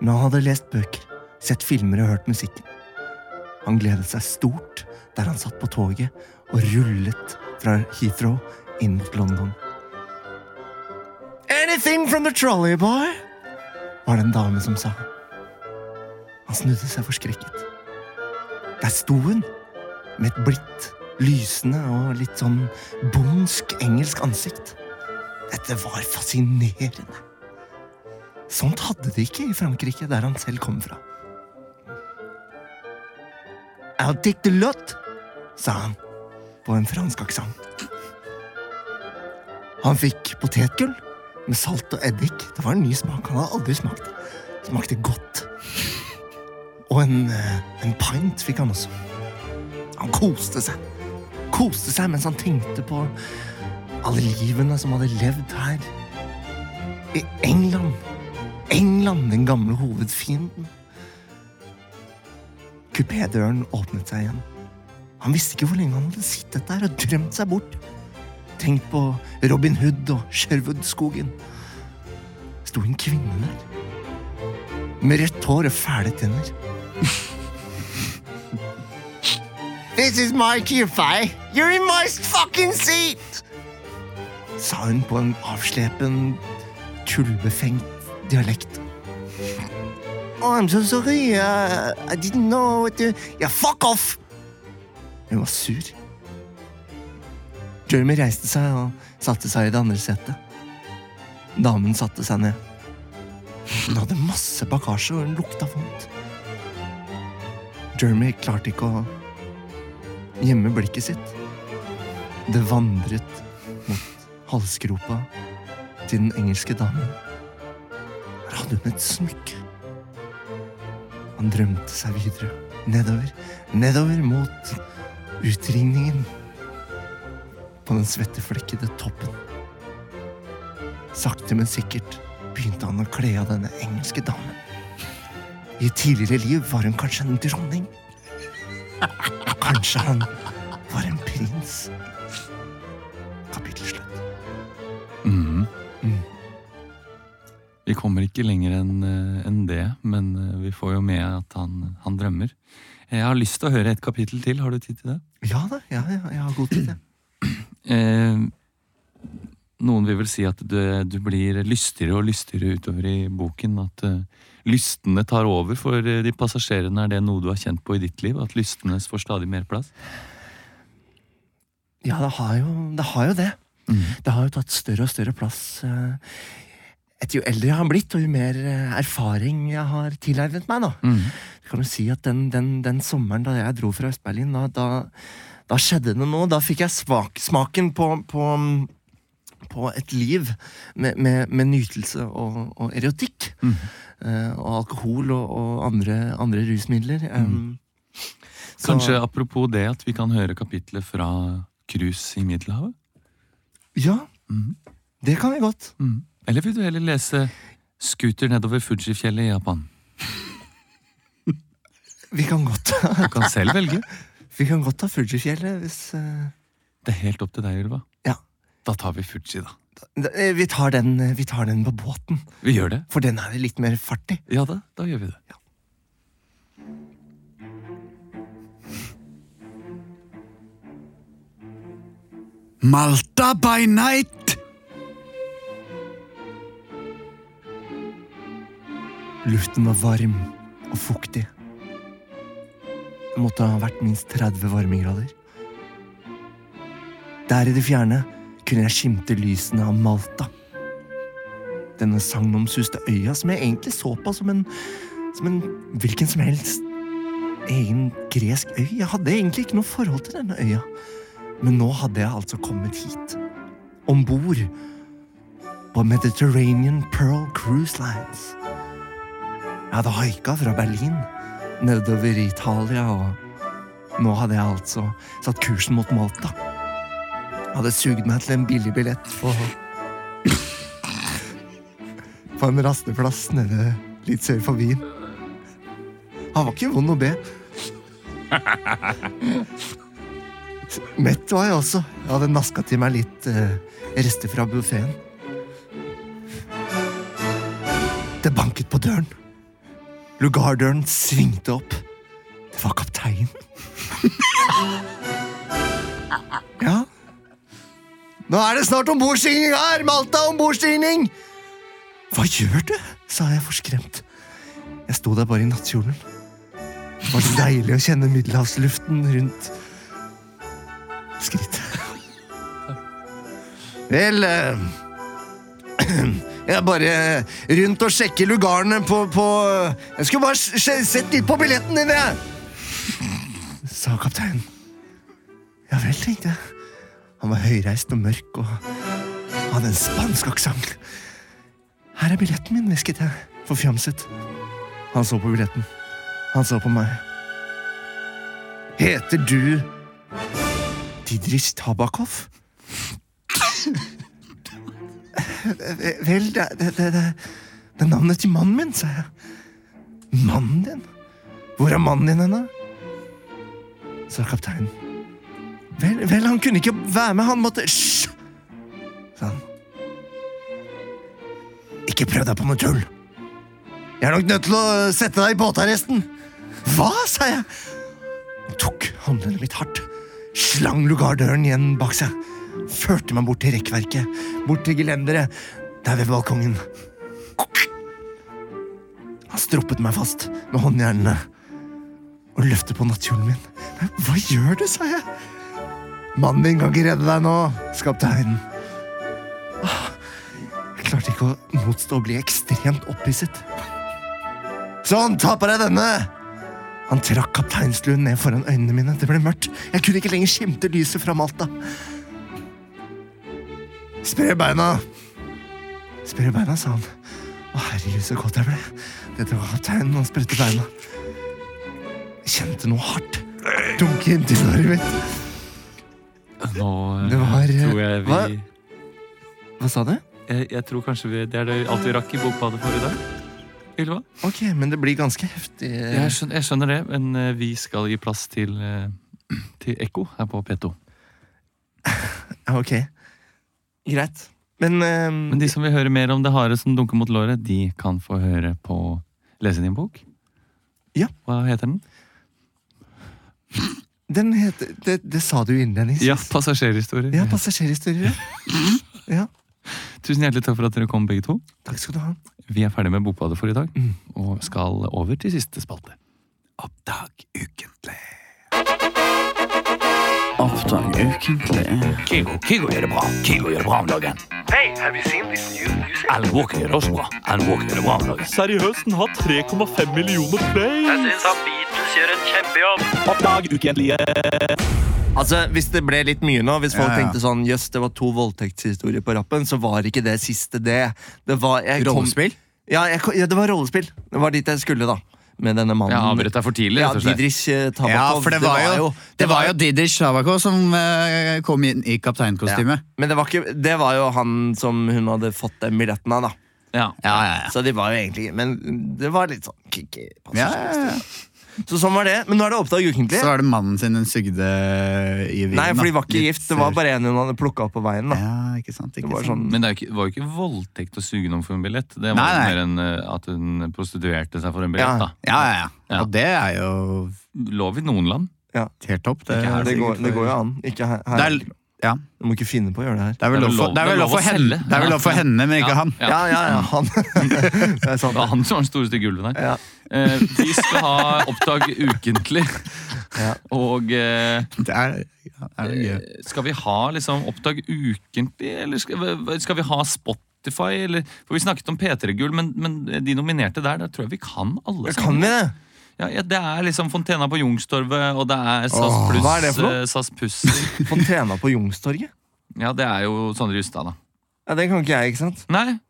Speaker 2: men han hadde lest bøker, sett filmer og hørt musikken. Han gledet seg stort der han satt på toget og rullet fra Heathrow inn mot London. Anything from the trolley, boy? var det en dame som sa. Han snudde seg forskrekket. Der sto hun, med et blidt, lysende og litt sånn bondsk engelsk ansikt. Dette var fascinerende. Sånt hadde de ikke i Frankrike, der han selv kom fra. I'll take the lot, sa han på en fransk aksent. Han fikk potetgull med salt og eddik. Det var en ny smak han hadde aldri smakt. Smakte godt. Og en, eh, en pint fikk han også. Han koste seg. Koste seg mens han tenkte på alle livene som hadde levd her. I England. England, den gamle hovedfienden. Kupédøren åpnet seg igjen. Han visste ikke hvor lenge han hadde sittet der og drømt seg bort. Tenk på Robin Hood og Sherwoodskogen. Sto en kvinne der? Med rødt hår og fæle tenner. This is my QFI. You're in my fucking seat! Sa hun på en avslepen, tullbefengt dialekt. Oh, I'm so sorry. Uh, I didn't know what to... Yeah, fuck off! Hun var sur. Jeremy reiste seg og satte seg i det andre setet. Damen satte seg ned. Hun hadde masse bagasje, og hun lukta vondt. Jeremy klarte ikke å gjemme blikket sitt. Det vandret mot halsgropa til den engelske damen. Her hadde hun et smykke. Han drømte seg videre, nedover, nedover mot utringningen på den svetteflekkede toppen. Sakte, men sikkert begynte han å kle av denne engelske damen. I et tidligere liv var hun kanskje en dronning. Kanskje han var en prins. Kapittel slutt.
Speaker 3: Mm. Vi kommer ikke lenger enn eh, enn det, men eh, vi får jo med at han, han drømmer. Eh, Jeg har lyst til å høre et kapittel til. Har du tid til det?
Speaker 2: Ja da, ja, ja, jeg har god tid. jeg.
Speaker 3: Eh, noen vil vel si at du, du blir lystigere og lystigere utover i boken. At eh, lystene tar over for eh, de passasjerene. Er det noe du har kjent på i ditt liv? At lystene får stadig mer plass?
Speaker 2: Ja, det har jo det. Har jo det. det har jo tatt større og større plass. eh, Etter jo eldre jeg har blitt, og jo mer eh, erfaring jeg har tilegnet meg, da. Kan du si at den, den, den sommeren da jeg dro fra Øst-Berlin, da, da, da skjedde det noe. Da fikk jeg smak, smaken på, på, på et liv med, med, med nytelse og, og erotikk.
Speaker 3: Mm.
Speaker 2: eh, Og alkohol og, og andre, andre rusmidler. eh, så-
Speaker 3: Mm. Kanskje apropos det at vi kan høre kapitlet fra cruise i Middelhavet?
Speaker 2: Ja,
Speaker 3: Mm.
Speaker 2: det kan vi godt.
Speaker 3: Eller vil du heller lese Scooter nedover Fujifjellet i Japan?
Speaker 2: Vi kan godt
Speaker 3: Du kan selv velge.
Speaker 2: Vi kan godt ta Fujifjellet hvis eh,
Speaker 3: Det er helt opp til deg, Ylva.
Speaker 2: Ja.
Speaker 3: Da tar vi Fuji, da.
Speaker 2: da- eh, vi tar, den, eh, vi tar den på båten,
Speaker 3: Vi gjør det.
Speaker 2: for den er det litt mer fart i.
Speaker 3: Ja da, da gjør vi det.
Speaker 8: Malta by night!
Speaker 2: Luften var varm og fuktig. Det måtte ha vært minst 30 varmegrader. Der i det fjerne kunne jeg skimte lysene av Malta. Denne sagnomsuste øya som jeg egentlig så på som en, som en hvilken som helst egen gresk øy. Jeg hadde egentlig ikke noe forhold til denne øya. Men nå hadde jeg altså kommet hit. Om bord på Mediterranean Pearl Cruise Lines. Jeg hadde haika fra Berlin nedover i Italia, og nå hadde jeg altså satt kursen mot Malta. Jeg hadde sugd meg til en billig billett på På en rasteplass nede litt sør for byen. Han var ikke vond å be. Mett var jeg også. Jeg hadde naska til meg litt eh, rester fra buffeen. Det banket på døren. Lugardøren svingte opp. Det var kapteinen. ja. Nå er det snart ombordstigning her! Malta ombordstigning! Hva gjør du? sa jeg forskremt. Jeg sto der bare i nattkjolen. Det var så deilig å kjenne middelhavsluften rundt skrittet. Vel eh, jeg bare rundt og sjekker lugarene på, på Jeg skulle bare sj- sj- sett litt på billetten din, jeg! Sa kapteinen. Ja vel, tenkte jeg. Han var høyreist og mørk og hadde en spansk aksent. Her er billetten min, hvisket jeg, forfjamset. Han så på billetten. Han så på meg. Heter du Didris Tabakov? Eh, Vel, det, det, det, det, det er navnet til mannen min, sa jeg. Mannen din? Hvor er mannen din hen, da? sa kapteinen. Vel, vel, han kunne ikke være med, han måtte Hysj! sa han. Ikke prøv deg på noe tull. Jeg er nok nødt til å sette deg i båtarresten. Hva? sa jeg. Han tok håndleddet mitt hardt, slang lugardøren igjen bak seg førte meg bort til rekkverket, bort til gelenderet, der ved balkongen. Han stroppet meg fast med håndjernene og løftet på nattkjolen min. Nei, hva gjør du, sa jeg. Mannen din kan ikke redde deg nå, skapte høyden. Jeg klarte ikke å motstå å bli ekstremt opphisset. Sånn, ta på deg denne! Han trakk kapteinsluen ned foran øynene mine. Det ble mørkt. Jeg kunne ikke lenger skimte lyset fra Malta. Spre beina! Spre beina, sa han. Å, herregud, så godt jeg ble. Dette var kapteinen. Han spredte beina. Jeg kjente noe hardt dunke inntil øret mitt.
Speaker 3: Nå eh,
Speaker 2: Det var, eh,
Speaker 3: tror jeg vi
Speaker 2: hva? Hva sa du?
Speaker 3: jeg, Eh, jeg tror kanskje vi, det er det alt vi rakk i Bokbadet for i dag. Ylva?
Speaker 2: Ok, men det blir ganske heftig.
Speaker 3: Jeg skjønner, jeg skjønner det, men eh, vi skal gi plass til, eh, til Ekko her på P2.
Speaker 2: Ja, ok. Greit. Men, eh,
Speaker 3: Men de som vil høre mer om det harde som dunker mot låret, de kan få høre på Lese din bok.
Speaker 2: Ja.
Speaker 3: Hva heter den?
Speaker 2: den heter det, det sa du innledningsvis.
Speaker 3: Ja, Passasjerhistorier.
Speaker 2: Ja, passasjerhistorier. ja.
Speaker 3: Tusen hjertelig takk for at dere kom, begge to.
Speaker 2: Takk skal du ha.
Speaker 3: Vi er ferdig med Bokbadet for i dag,
Speaker 2: Mm.
Speaker 3: og skal over til siste spalte. Oppdag ukentlig.
Speaker 8: Oppdag ukentlig.
Speaker 4: Kygo, Kygo gjør det bra. Kygo gjør det bra om dagen.
Speaker 9: Hey, have you seen this new music?
Speaker 4: Alan Walker gjør det også bra. Alan Walker gjør det bra om dagen. Seriøst, den har 3,5 millioner
Speaker 9: Jeg
Speaker 4: plays.
Speaker 9: syns at Beatles gjør en kjempejobb.
Speaker 4: Oppdag ukentlige.
Speaker 2: Altså, Hvis det ble litt mye nå, hvis folk
Speaker 1: Ja, ja.
Speaker 2: tenkte sånn Jøss, det var to voldtektshistorier på rappen, så var ikke det siste det. Det var jeg kom-
Speaker 1: Rollespill?
Speaker 2: Ja, jeg, kom- ja, det var rollespill. Det var dit jeg skulle, da. Med denne mannen.
Speaker 3: Jeg avbrøt deg for tidlig.
Speaker 2: Ja,
Speaker 3: rett og slett.
Speaker 2: Didrich eh, Tabakov.
Speaker 1: Ja, for det var jo, det var jo Didrik Slavako som eh, kom inn i kapteinkostyme.
Speaker 2: Men det var, ikke, det var jo han som hun hadde fått den billetten av, da.
Speaker 3: Ja.
Speaker 1: Ja, ja, ja.
Speaker 2: Så de var jo egentlig Men det var litt sånn kikke,
Speaker 1: ja, ja, ja.
Speaker 2: Så sånn var det. Men nå er det oppdag ukentlig.
Speaker 1: Så var det mannen sin hun sugde eh, i vinen.
Speaker 2: Nei, for de
Speaker 1: da.
Speaker 2: var ikke
Speaker 1: Litt
Speaker 2: gift. Det var
Speaker 1: sur.
Speaker 2: bare en hun hadde plukka opp på veien. da
Speaker 1: Ja, ikke sant, ikke
Speaker 2: Det var
Speaker 1: sant.
Speaker 2: sånn
Speaker 3: Men det er jo ikke- var jo ikke voldtekt å suge noen for en billett. Det var
Speaker 1: Nei, nei.
Speaker 3: mer enn eh, at hun prostituerte seg for en
Speaker 2: Ja.
Speaker 3: billett. da.
Speaker 1: Ja, ja, sånn- ja.
Speaker 3: Ja.
Speaker 1: Og det er jo
Speaker 3: Lov i noen land.
Speaker 1: helt topp. Det,
Speaker 2: ja,
Speaker 1: er
Speaker 2: det, går,
Speaker 1: sikkert
Speaker 2: det
Speaker 1: for-
Speaker 2: går jo an. Ikke her.
Speaker 1: Det
Speaker 2: her.
Speaker 1: er, ja,
Speaker 2: Du må ikke finne på å gjøre det her.
Speaker 1: det er vel lov for, det er vel lov for, henne,
Speaker 3: selge.
Speaker 1: det er vel lov for henne, men ikke
Speaker 3: Ja.
Speaker 1: han.
Speaker 2: Ja, ja, ja, han. det er
Speaker 3: Det
Speaker 2: sant.
Speaker 3: var han som var den store stygge ulven her.
Speaker 2: Ja.
Speaker 3: Eh, vi skal ha Oppdag ukentlig.
Speaker 2: Ja.
Speaker 3: Og eh,
Speaker 1: Det er, ja, det er jo gøy.
Speaker 3: skal vi ha liksom Oppdag ukentlig, eller skal, skal vi ha Spotify? Eller, for vi snakket om P3-gull, men, men de nominerte der, der tror jeg vi kan alle
Speaker 2: Kan vi det?
Speaker 3: Ja, ja, det er liksom Fontena på Youngstorget, og det er SAS
Speaker 2: Åh,
Speaker 3: pluss
Speaker 2: hva er det for noe?
Speaker 3: eh, SAS Pusser.
Speaker 2: Fontena på Youngstorget?
Speaker 3: Ja, det er jo Sondre Justad, da.
Speaker 2: Ja, den kan ikke jeg, ikke sant?
Speaker 3: Nei.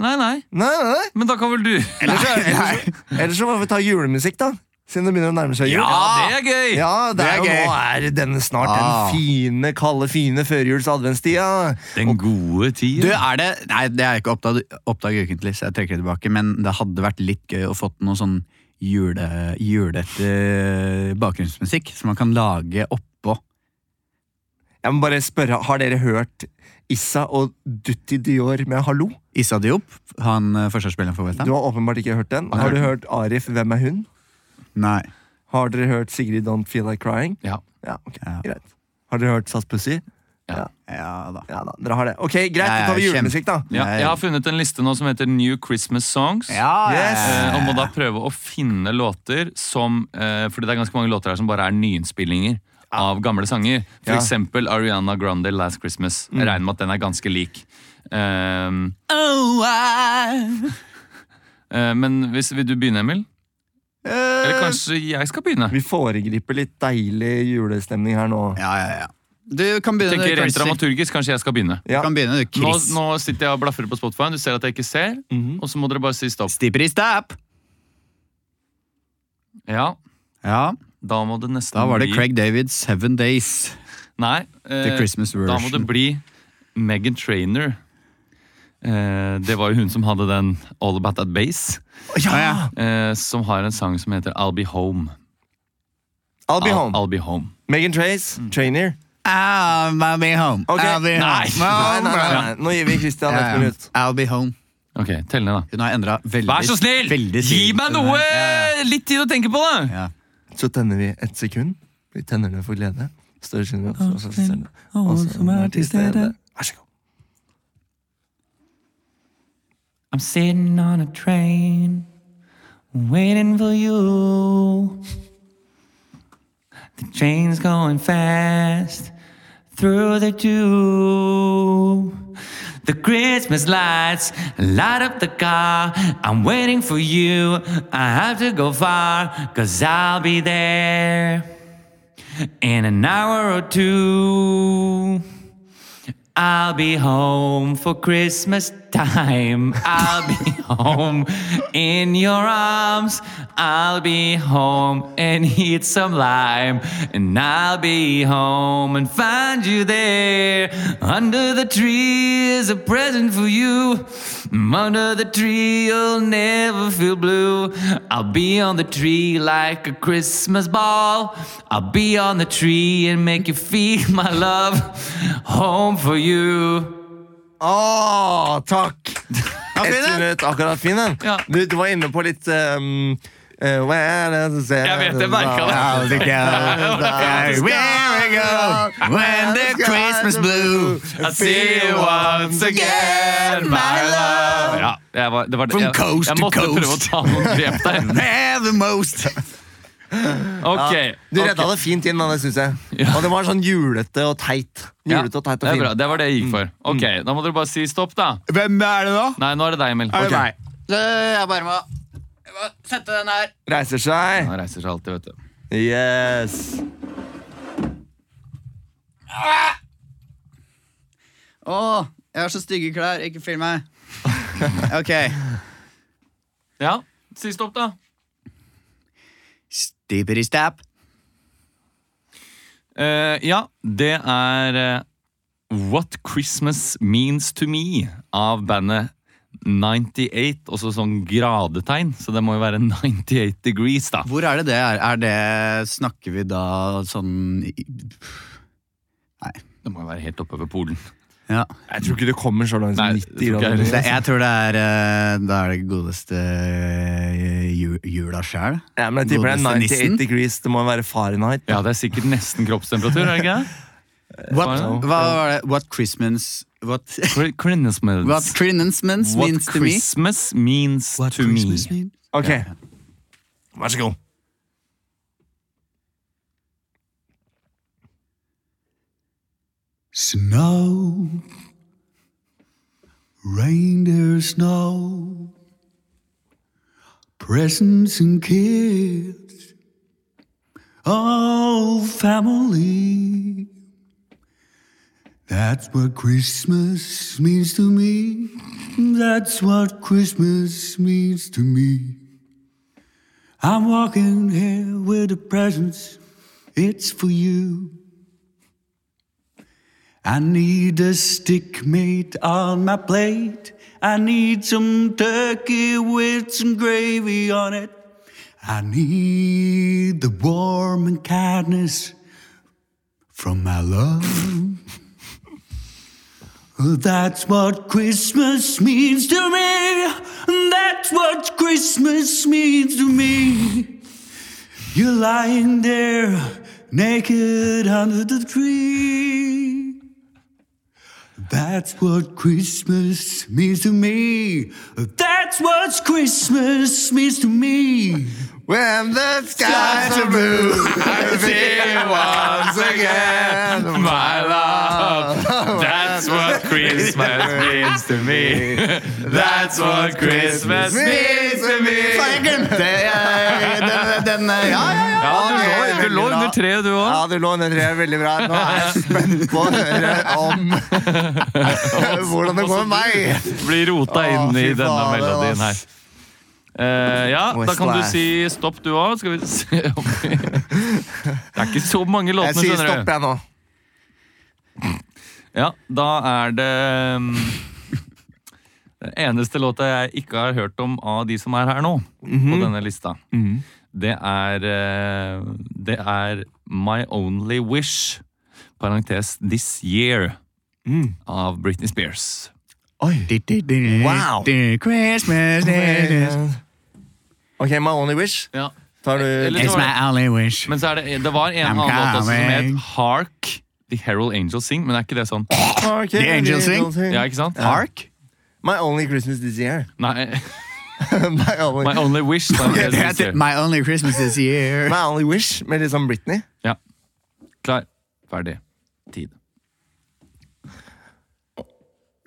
Speaker 3: Nei, nei.
Speaker 2: Nei, nei, nei.
Speaker 3: Men da kan vel du
Speaker 2: Ellers, så- ellers, så- ellers så må vi ta julemusikk, da. Siden det begynner å nærme seg jul.
Speaker 3: det er gøy!
Speaker 2: Ja, det
Speaker 1: Det
Speaker 2: er
Speaker 1: er
Speaker 2: jo
Speaker 1: gøy.
Speaker 2: nå er denne snart
Speaker 1: Ah.
Speaker 2: den fine, kalde, fine førjuls adventstida.
Speaker 3: Den gode
Speaker 1: Du,
Speaker 3: tiden.
Speaker 1: er det Nei, det er ikke oppdag, oppdag ukentlig, så jeg trekker det tilbake. Men det hadde vært litt gøy å fått noe sånn jule, julete eh, bakgrunnsmusikk som man kan lage oppå.
Speaker 2: Jeg må bare spørre, har dere hørt Issa og Dutti Dior med Hallo?
Speaker 1: Issa Diop, han eh, forsvarsspilleren for
Speaker 2: Du
Speaker 1: Westham?
Speaker 2: har åpenbart ikke hørt den. Har du hørt Arif Hvem er hun?
Speaker 1: Nei.
Speaker 2: Har dere hørt Sigrid Don't Feel Like Crying?
Speaker 3: Ja.
Speaker 2: Ja, ok,
Speaker 1: Ja.
Speaker 2: greit. Har dere hørt SAS Pussy?
Speaker 1: Ja da.
Speaker 2: Ja da, dere har det. Ok, greit,
Speaker 1: Ja,
Speaker 2: da tar vi
Speaker 1: ja, kjempe-
Speaker 2: julemusikk, da.
Speaker 3: Ja, jeg har funnet en liste nå som heter New Christmas Songs.
Speaker 1: Ja,
Speaker 2: Yes.
Speaker 3: Eh, og må da prøve å finne låter som eh, Fordi det er ganske mange låter her som bare er nyinnspillinger av gamle sanger. For
Speaker 2: Ja. Mm.
Speaker 3: eksempel Ariana Grande Last Christmas. Jeg regner med at den er ganske lik. Ehm,
Speaker 1: Oh,
Speaker 3: eh, men hvis, vil du begynne, Emil? Eller kanskje jeg skal begynne?
Speaker 2: Eh. Vi foregriper litt deilig julestemning her nå.
Speaker 1: Eh, ja, ja, ja. Du kan begynne,
Speaker 3: Tenker
Speaker 1: du,
Speaker 3: rent
Speaker 1: Christer.
Speaker 3: dramaturgisk, kanskje jeg skal begynne.
Speaker 1: Du kan begynne, du,
Speaker 3: Nå,
Speaker 1: Chris.
Speaker 3: nå sitter jeg og blaffer på Spotify, du ser at jeg ikke ser,
Speaker 2: Mhm.
Speaker 3: og så må dere bare si stopp.
Speaker 1: Stipper i stap!
Speaker 3: Ja,
Speaker 1: Ja,
Speaker 3: da må det nesten
Speaker 1: da var det
Speaker 3: bli
Speaker 1: Craig David, Seven Days.
Speaker 3: Nei,
Speaker 1: The
Speaker 3: eh,
Speaker 1: Christmas
Speaker 3: da må det
Speaker 1: version.
Speaker 3: bli Megan Trainer. Eh, det var jo hun som hadde den All About That Base,
Speaker 1: Ja,
Speaker 3: eh, som har en sang som heter I'll Be Home.
Speaker 2: I'll be home.
Speaker 3: I'll, I'll be home.
Speaker 2: Megan Trace, trainer.
Speaker 1: I'll be home.
Speaker 2: Ok,
Speaker 1: I'll be
Speaker 3: nei.
Speaker 2: Nei,
Speaker 1: home.
Speaker 2: nei, nei, nei. Nå gir vi Christian
Speaker 1: Ja,
Speaker 2: ett
Speaker 1: ja.
Speaker 2: minutt.
Speaker 1: I'll be home.
Speaker 3: Ok, tell ned da.
Speaker 1: Hun har endra veldig
Speaker 3: Vær så snill!
Speaker 1: veldig
Speaker 3: Gi
Speaker 1: siden
Speaker 3: meg
Speaker 1: den
Speaker 3: noe,
Speaker 1: her. Ja,
Speaker 3: litt tid å tenke på da!
Speaker 1: ja.
Speaker 2: Så tenner vi ett sekund. Vi tenner det for glede. Større synlighet. Og så ser du. Og som er til stede. Vær så god.
Speaker 7: I'm sitting on a train waiting for you. The train's going fast through the dew. The Christmas lights light up the car. I'm waiting for you. I have to go far, cause I'll be there in an hour or two. I'll be home for Christmas time. I'll be home in your arms. I'll be home and eat some lime. And I'll be home and find you there. Under the tree is a present for you. Under the tree, you'll never feel blue. I'll be on the tree like a Christmas ball. I'll be on the tree and make you feel my love. Home for you.
Speaker 2: Åh, takk! Ett minutt, akkurat fin den.
Speaker 10: Ja.
Speaker 2: Du, du var inne på litt um, eh, hva er det som ser
Speaker 10: Jeg vet det, merket det.
Speaker 2: How the girls are wearing out When the Christmas blue I see you once again, my love
Speaker 3: Ja, jeg var, det var,
Speaker 2: From
Speaker 3: jeg,
Speaker 2: coast
Speaker 3: jeg
Speaker 2: to
Speaker 3: måtte
Speaker 2: coast.
Speaker 3: prøve å ta noen grep der.
Speaker 2: Have the most
Speaker 3: Ok.
Speaker 2: ja, Du redda det fint inn, da, det syns jeg. Og det var sånn julete og teit.
Speaker 3: Ja,
Speaker 2: Julete og Mm. teit
Speaker 3: det
Speaker 2: og
Speaker 3: er bra.
Speaker 2: fin.
Speaker 3: Det var det jeg gikk for. Ok, Da må dere bare si stopp, da.
Speaker 1: Hvem er det, da?
Speaker 3: Nei, nå er det deg, Emil.
Speaker 2: Er det meg?
Speaker 11: Jeg bare må jeg må sette den her.
Speaker 2: Reiser seg.
Speaker 3: Han reiser seg alltid, vet du.
Speaker 2: Yes.
Speaker 11: Å, jeg har så stygge klær. Ikke film meg. Ok.
Speaker 3: Ja, si stopp, da.
Speaker 11: Stipper i stap.
Speaker 3: Eh, ja, det er eh, What Christmas Means To Me av bandet 98, også sånn gradetegn, så det må jo være 98 degrees, da.
Speaker 11: Hvor er
Speaker 1: det det er? Er det Snakker vi da sånn i-
Speaker 3: Det må jo være helt oppe ved Polen.
Speaker 1: Ja.
Speaker 2: Jeg tror ikke det kommer så langt
Speaker 3: Nei,
Speaker 2: som
Speaker 3: det
Speaker 2: 90
Speaker 3: tror ikke jeg
Speaker 2: grader.
Speaker 3: heller.
Speaker 1: Det, jeg tror det er eh, Da er det godeste eh, ju, jula sjæl.
Speaker 2: Ja, men jeg tipper det er
Speaker 1: Godeste
Speaker 2: 98
Speaker 1: nissen.
Speaker 2: degrees. Det må være Fahrenheit.
Speaker 3: Ja, det er sikkert nesten kroppstemperatur, er det ikke det?
Speaker 1: What,
Speaker 3: Fahrenheit.
Speaker 1: hva var det? What Christmas What,
Speaker 3: Cri- Christmas.
Speaker 1: what Christmas
Speaker 3: What
Speaker 1: means to me?
Speaker 3: Christmas means to me.
Speaker 1: mean?
Speaker 2: Ok, vær så god.
Speaker 1: Snow, reindeer snow, presents and kids, oh family. That's what Christmas means to me. That's what Christmas means to me. I'm walking here with a presents, it's for you. I need a stick mate on my plate. I need some turkey with some gravy on it. I need the warm and kindness from my love. That's what Christmas means to me. That's what Christmas means to me. You're lying there naked under the tree. That's what Christmas means to me. That's what Christmas means to me.
Speaker 2: When the skies are blue, I see once again my love.
Speaker 10: That's what Christmas means to me. That's what Christmas means to me.
Speaker 1: Jeg glemte jeg, den, den Ja, ja, ja.
Speaker 3: Ja, du lå, du lå under treet, du òg.
Speaker 2: Ja, du lå under treet. Veldig bra. Nå er jeg spent på å høre om hvordan det går med meg.
Speaker 3: Blir rota
Speaker 2: Å,
Speaker 3: inn i
Speaker 2: fy
Speaker 3: denne
Speaker 2: faen,
Speaker 3: melodien her.
Speaker 2: ass.
Speaker 3: Eh, ja, da kan du
Speaker 2: Westlife.
Speaker 3: si stopp, du òg. Skal vi se om vi Det er ikke så mange
Speaker 2: Jeg
Speaker 3: låtene,
Speaker 2: sier
Speaker 3: skjønner
Speaker 2: stopp,
Speaker 3: du.
Speaker 2: jeg nå.
Speaker 3: Ja, da er det um, Den eneste låta jeg ikke har hørt om av de som er her nå,
Speaker 2: Mhm.
Speaker 3: på denne lista, det er eh, Det er My Only Wish, parentes This Year,
Speaker 2: Mm.
Speaker 3: av Britney Spears.
Speaker 2: Wow.
Speaker 1: Christmas is
Speaker 2: Ok, My Only Wish.
Speaker 3: Ja.
Speaker 2: Tar
Speaker 3: Eller
Speaker 2: du
Speaker 3: så
Speaker 1: It's
Speaker 3: var det-
Speaker 1: my only wish.
Speaker 3: Men så er det, det var en
Speaker 1: I'm
Speaker 3: annen låt også som het
Speaker 1: coming.
Speaker 3: Hark. The Herald Angels Sing, men er ikke det sånn?
Speaker 2: The
Speaker 1: Angels Sing?
Speaker 3: Ja, ikke sant?
Speaker 1: Ark?
Speaker 2: My Only Christmas This Year.
Speaker 3: Nei,
Speaker 2: My Only,
Speaker 3: My Only Wish. Da, er det
Speaker 1: Det
Speaker 3: det du
Speaker 1: heter
Speaker 3: sier.
Speaker 1: My only Christmas this year.
Speaker 2: my only Wish med liksom Britney.
Speaker 3: ja. Klar, ferdig, tid.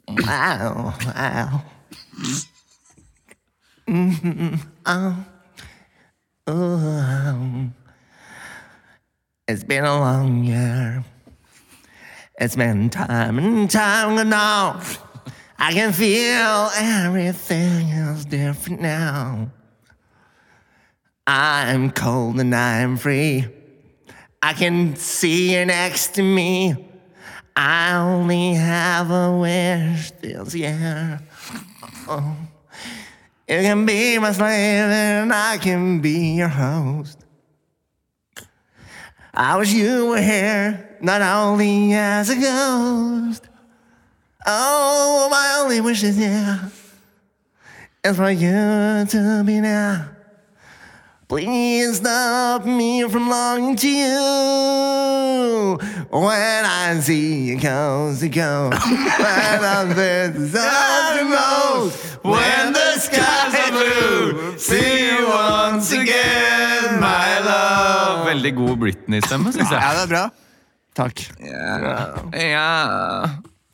Speaker 2: Wow, wow. Mm-hmm. Mm-hmm. It's been a long year. It's been time and time enough. I can feel everything is different now. I'm cold and I'm free. I can see you next to me. I only have a wish this year. Oh. You can be my slave and I can be your host. I wish you were here, not only as a ghost. Oh, my only wish is yeah, is for you to be now. Please stop me from longing to you when I see you coast to coast. when I'm this uttermost, when the skies are blue, see you once again, my love.
Speaker 3: Veldig god Britney-stemme, syns jeg.
Speaker 1: Ja, det er bra.
Speaker 2: Takk.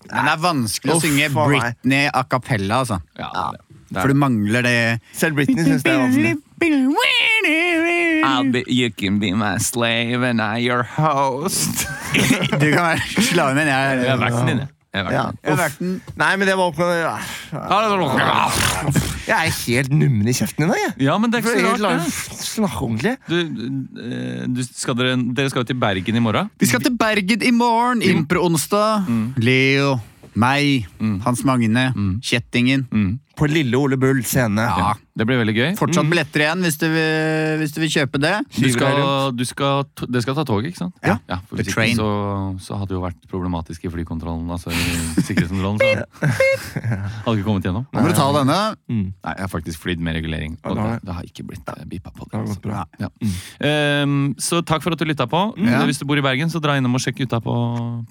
Speaker 1: Men det er vanskelig å
Speaker 2: Uff,
Speaker 1: synge
Speaker 2: for meg.
Speaker 1: Britney a cappella, altså.
Speaker 3: er-
Speaker 1: For du mangler det
Speaker 2: Selv Britney syns det er vanskelig.
Speaker 3: I'll be, you can be my slave and I your host.
Speaker 1: Du kan være slaven min. Jeg,
Speaker 3: Jeg er verten din, jeg. Jeg er
Speaker 2: Ja,
Speaker 3: verten.
Speaker 2: uff.
Speaker 1: verten.
Speaker 2: Nei, men det var opp med Jeg er helt nummen i kjeften i dag, jeg.
Speaker 3: Ja, men det er ikke så
Speaker 2: Jeg
Speaker 3: rart.
Speaker 2: klarer
Speaker 3: det.
Speaker 2: å snakke ordentlig.
Speaker 3: Du, eh, du, skal dere, dere skal jo til Bergen i morgen.
Speaker 1: Vi skal til Bergen i morgen.
Speaker 3: Mm.
Speaker 1: Impro-onsdag. Leo, meg,
Speaker 3: Mm.
Speaker 1: Hans Magne, Kjettingen.
Speaker 2: På Lille Ole Bull scene.
Speaker 1: Ja.
Speaker 3: Det blir veldig gøy.
Speaker 1: Fortsatt billetter igjen hvis du vil, hvis du vil kjøpe det.
Speaker 3: Mm.
Speaker 2: Skyver
Speaker 3: Du
Speaker 2: deg
Speaker 3: skal,
Speaker 2: rundt.
Speaker 3: du skal, t- dere skal ta toget, ikke sant?
Speaker 1: Ja.
Speaker 3: for
Speaker 1: The
Speaker 3: hvis
Speaker 1: train.
Speaker 3: ikke så, så hadde det jo vært problematisk i flykontrollen, altså i sikkerhetskontrollen. Så hadde ikke kommet gjennom.
Speaker 1: Må du ta denne?
Speaker 3: Nei, jeg har faktisk flydd med regulering,
Speaker 2: Ja, det
Speaker 3: og det,
Speaker 2: har jeg.
Speaker 3: det har ikke blitt eh, bippet
Speaker 2: Det
Speaker 3: på. Det,
Speaker 2: har gått
Speaker 3: altså.
Speaker 2: bra.
Speaker 3: ja. Ehm, så takk for at du lytta på.
Speaker 1: Ja.
Speaker 3: Hvis du bor i Bergen, så dra innom og sjekk gutta på,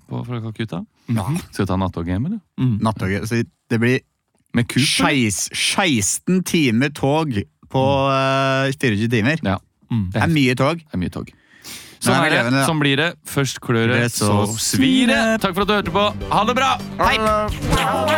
Speaker 3: på fra Calcutta. Skal du ta nattoget hjem, eller?
Speaker 1: Nattoget. Så det blir
Speaker 3: Med Coop? eller?
Speaker 1: skeis, 16 timer tog på eh, 24 timer.
Speaker 3: Mm. Ja.
Speaker 1: Det er mye tog.
Speaker 3: Det er mye tog. Sånn,
Speaker 1: Nei,
Speaker 3: er det,
Speaker 1: elevene, ja.
Speaker 3: sånn blir det. Først klør det,
Speaker 1: Det er
Speaker 3: så
Speaker 1: så
Speaker 3: svir det. Takk for at du hørte på. Ha det bra! Hei!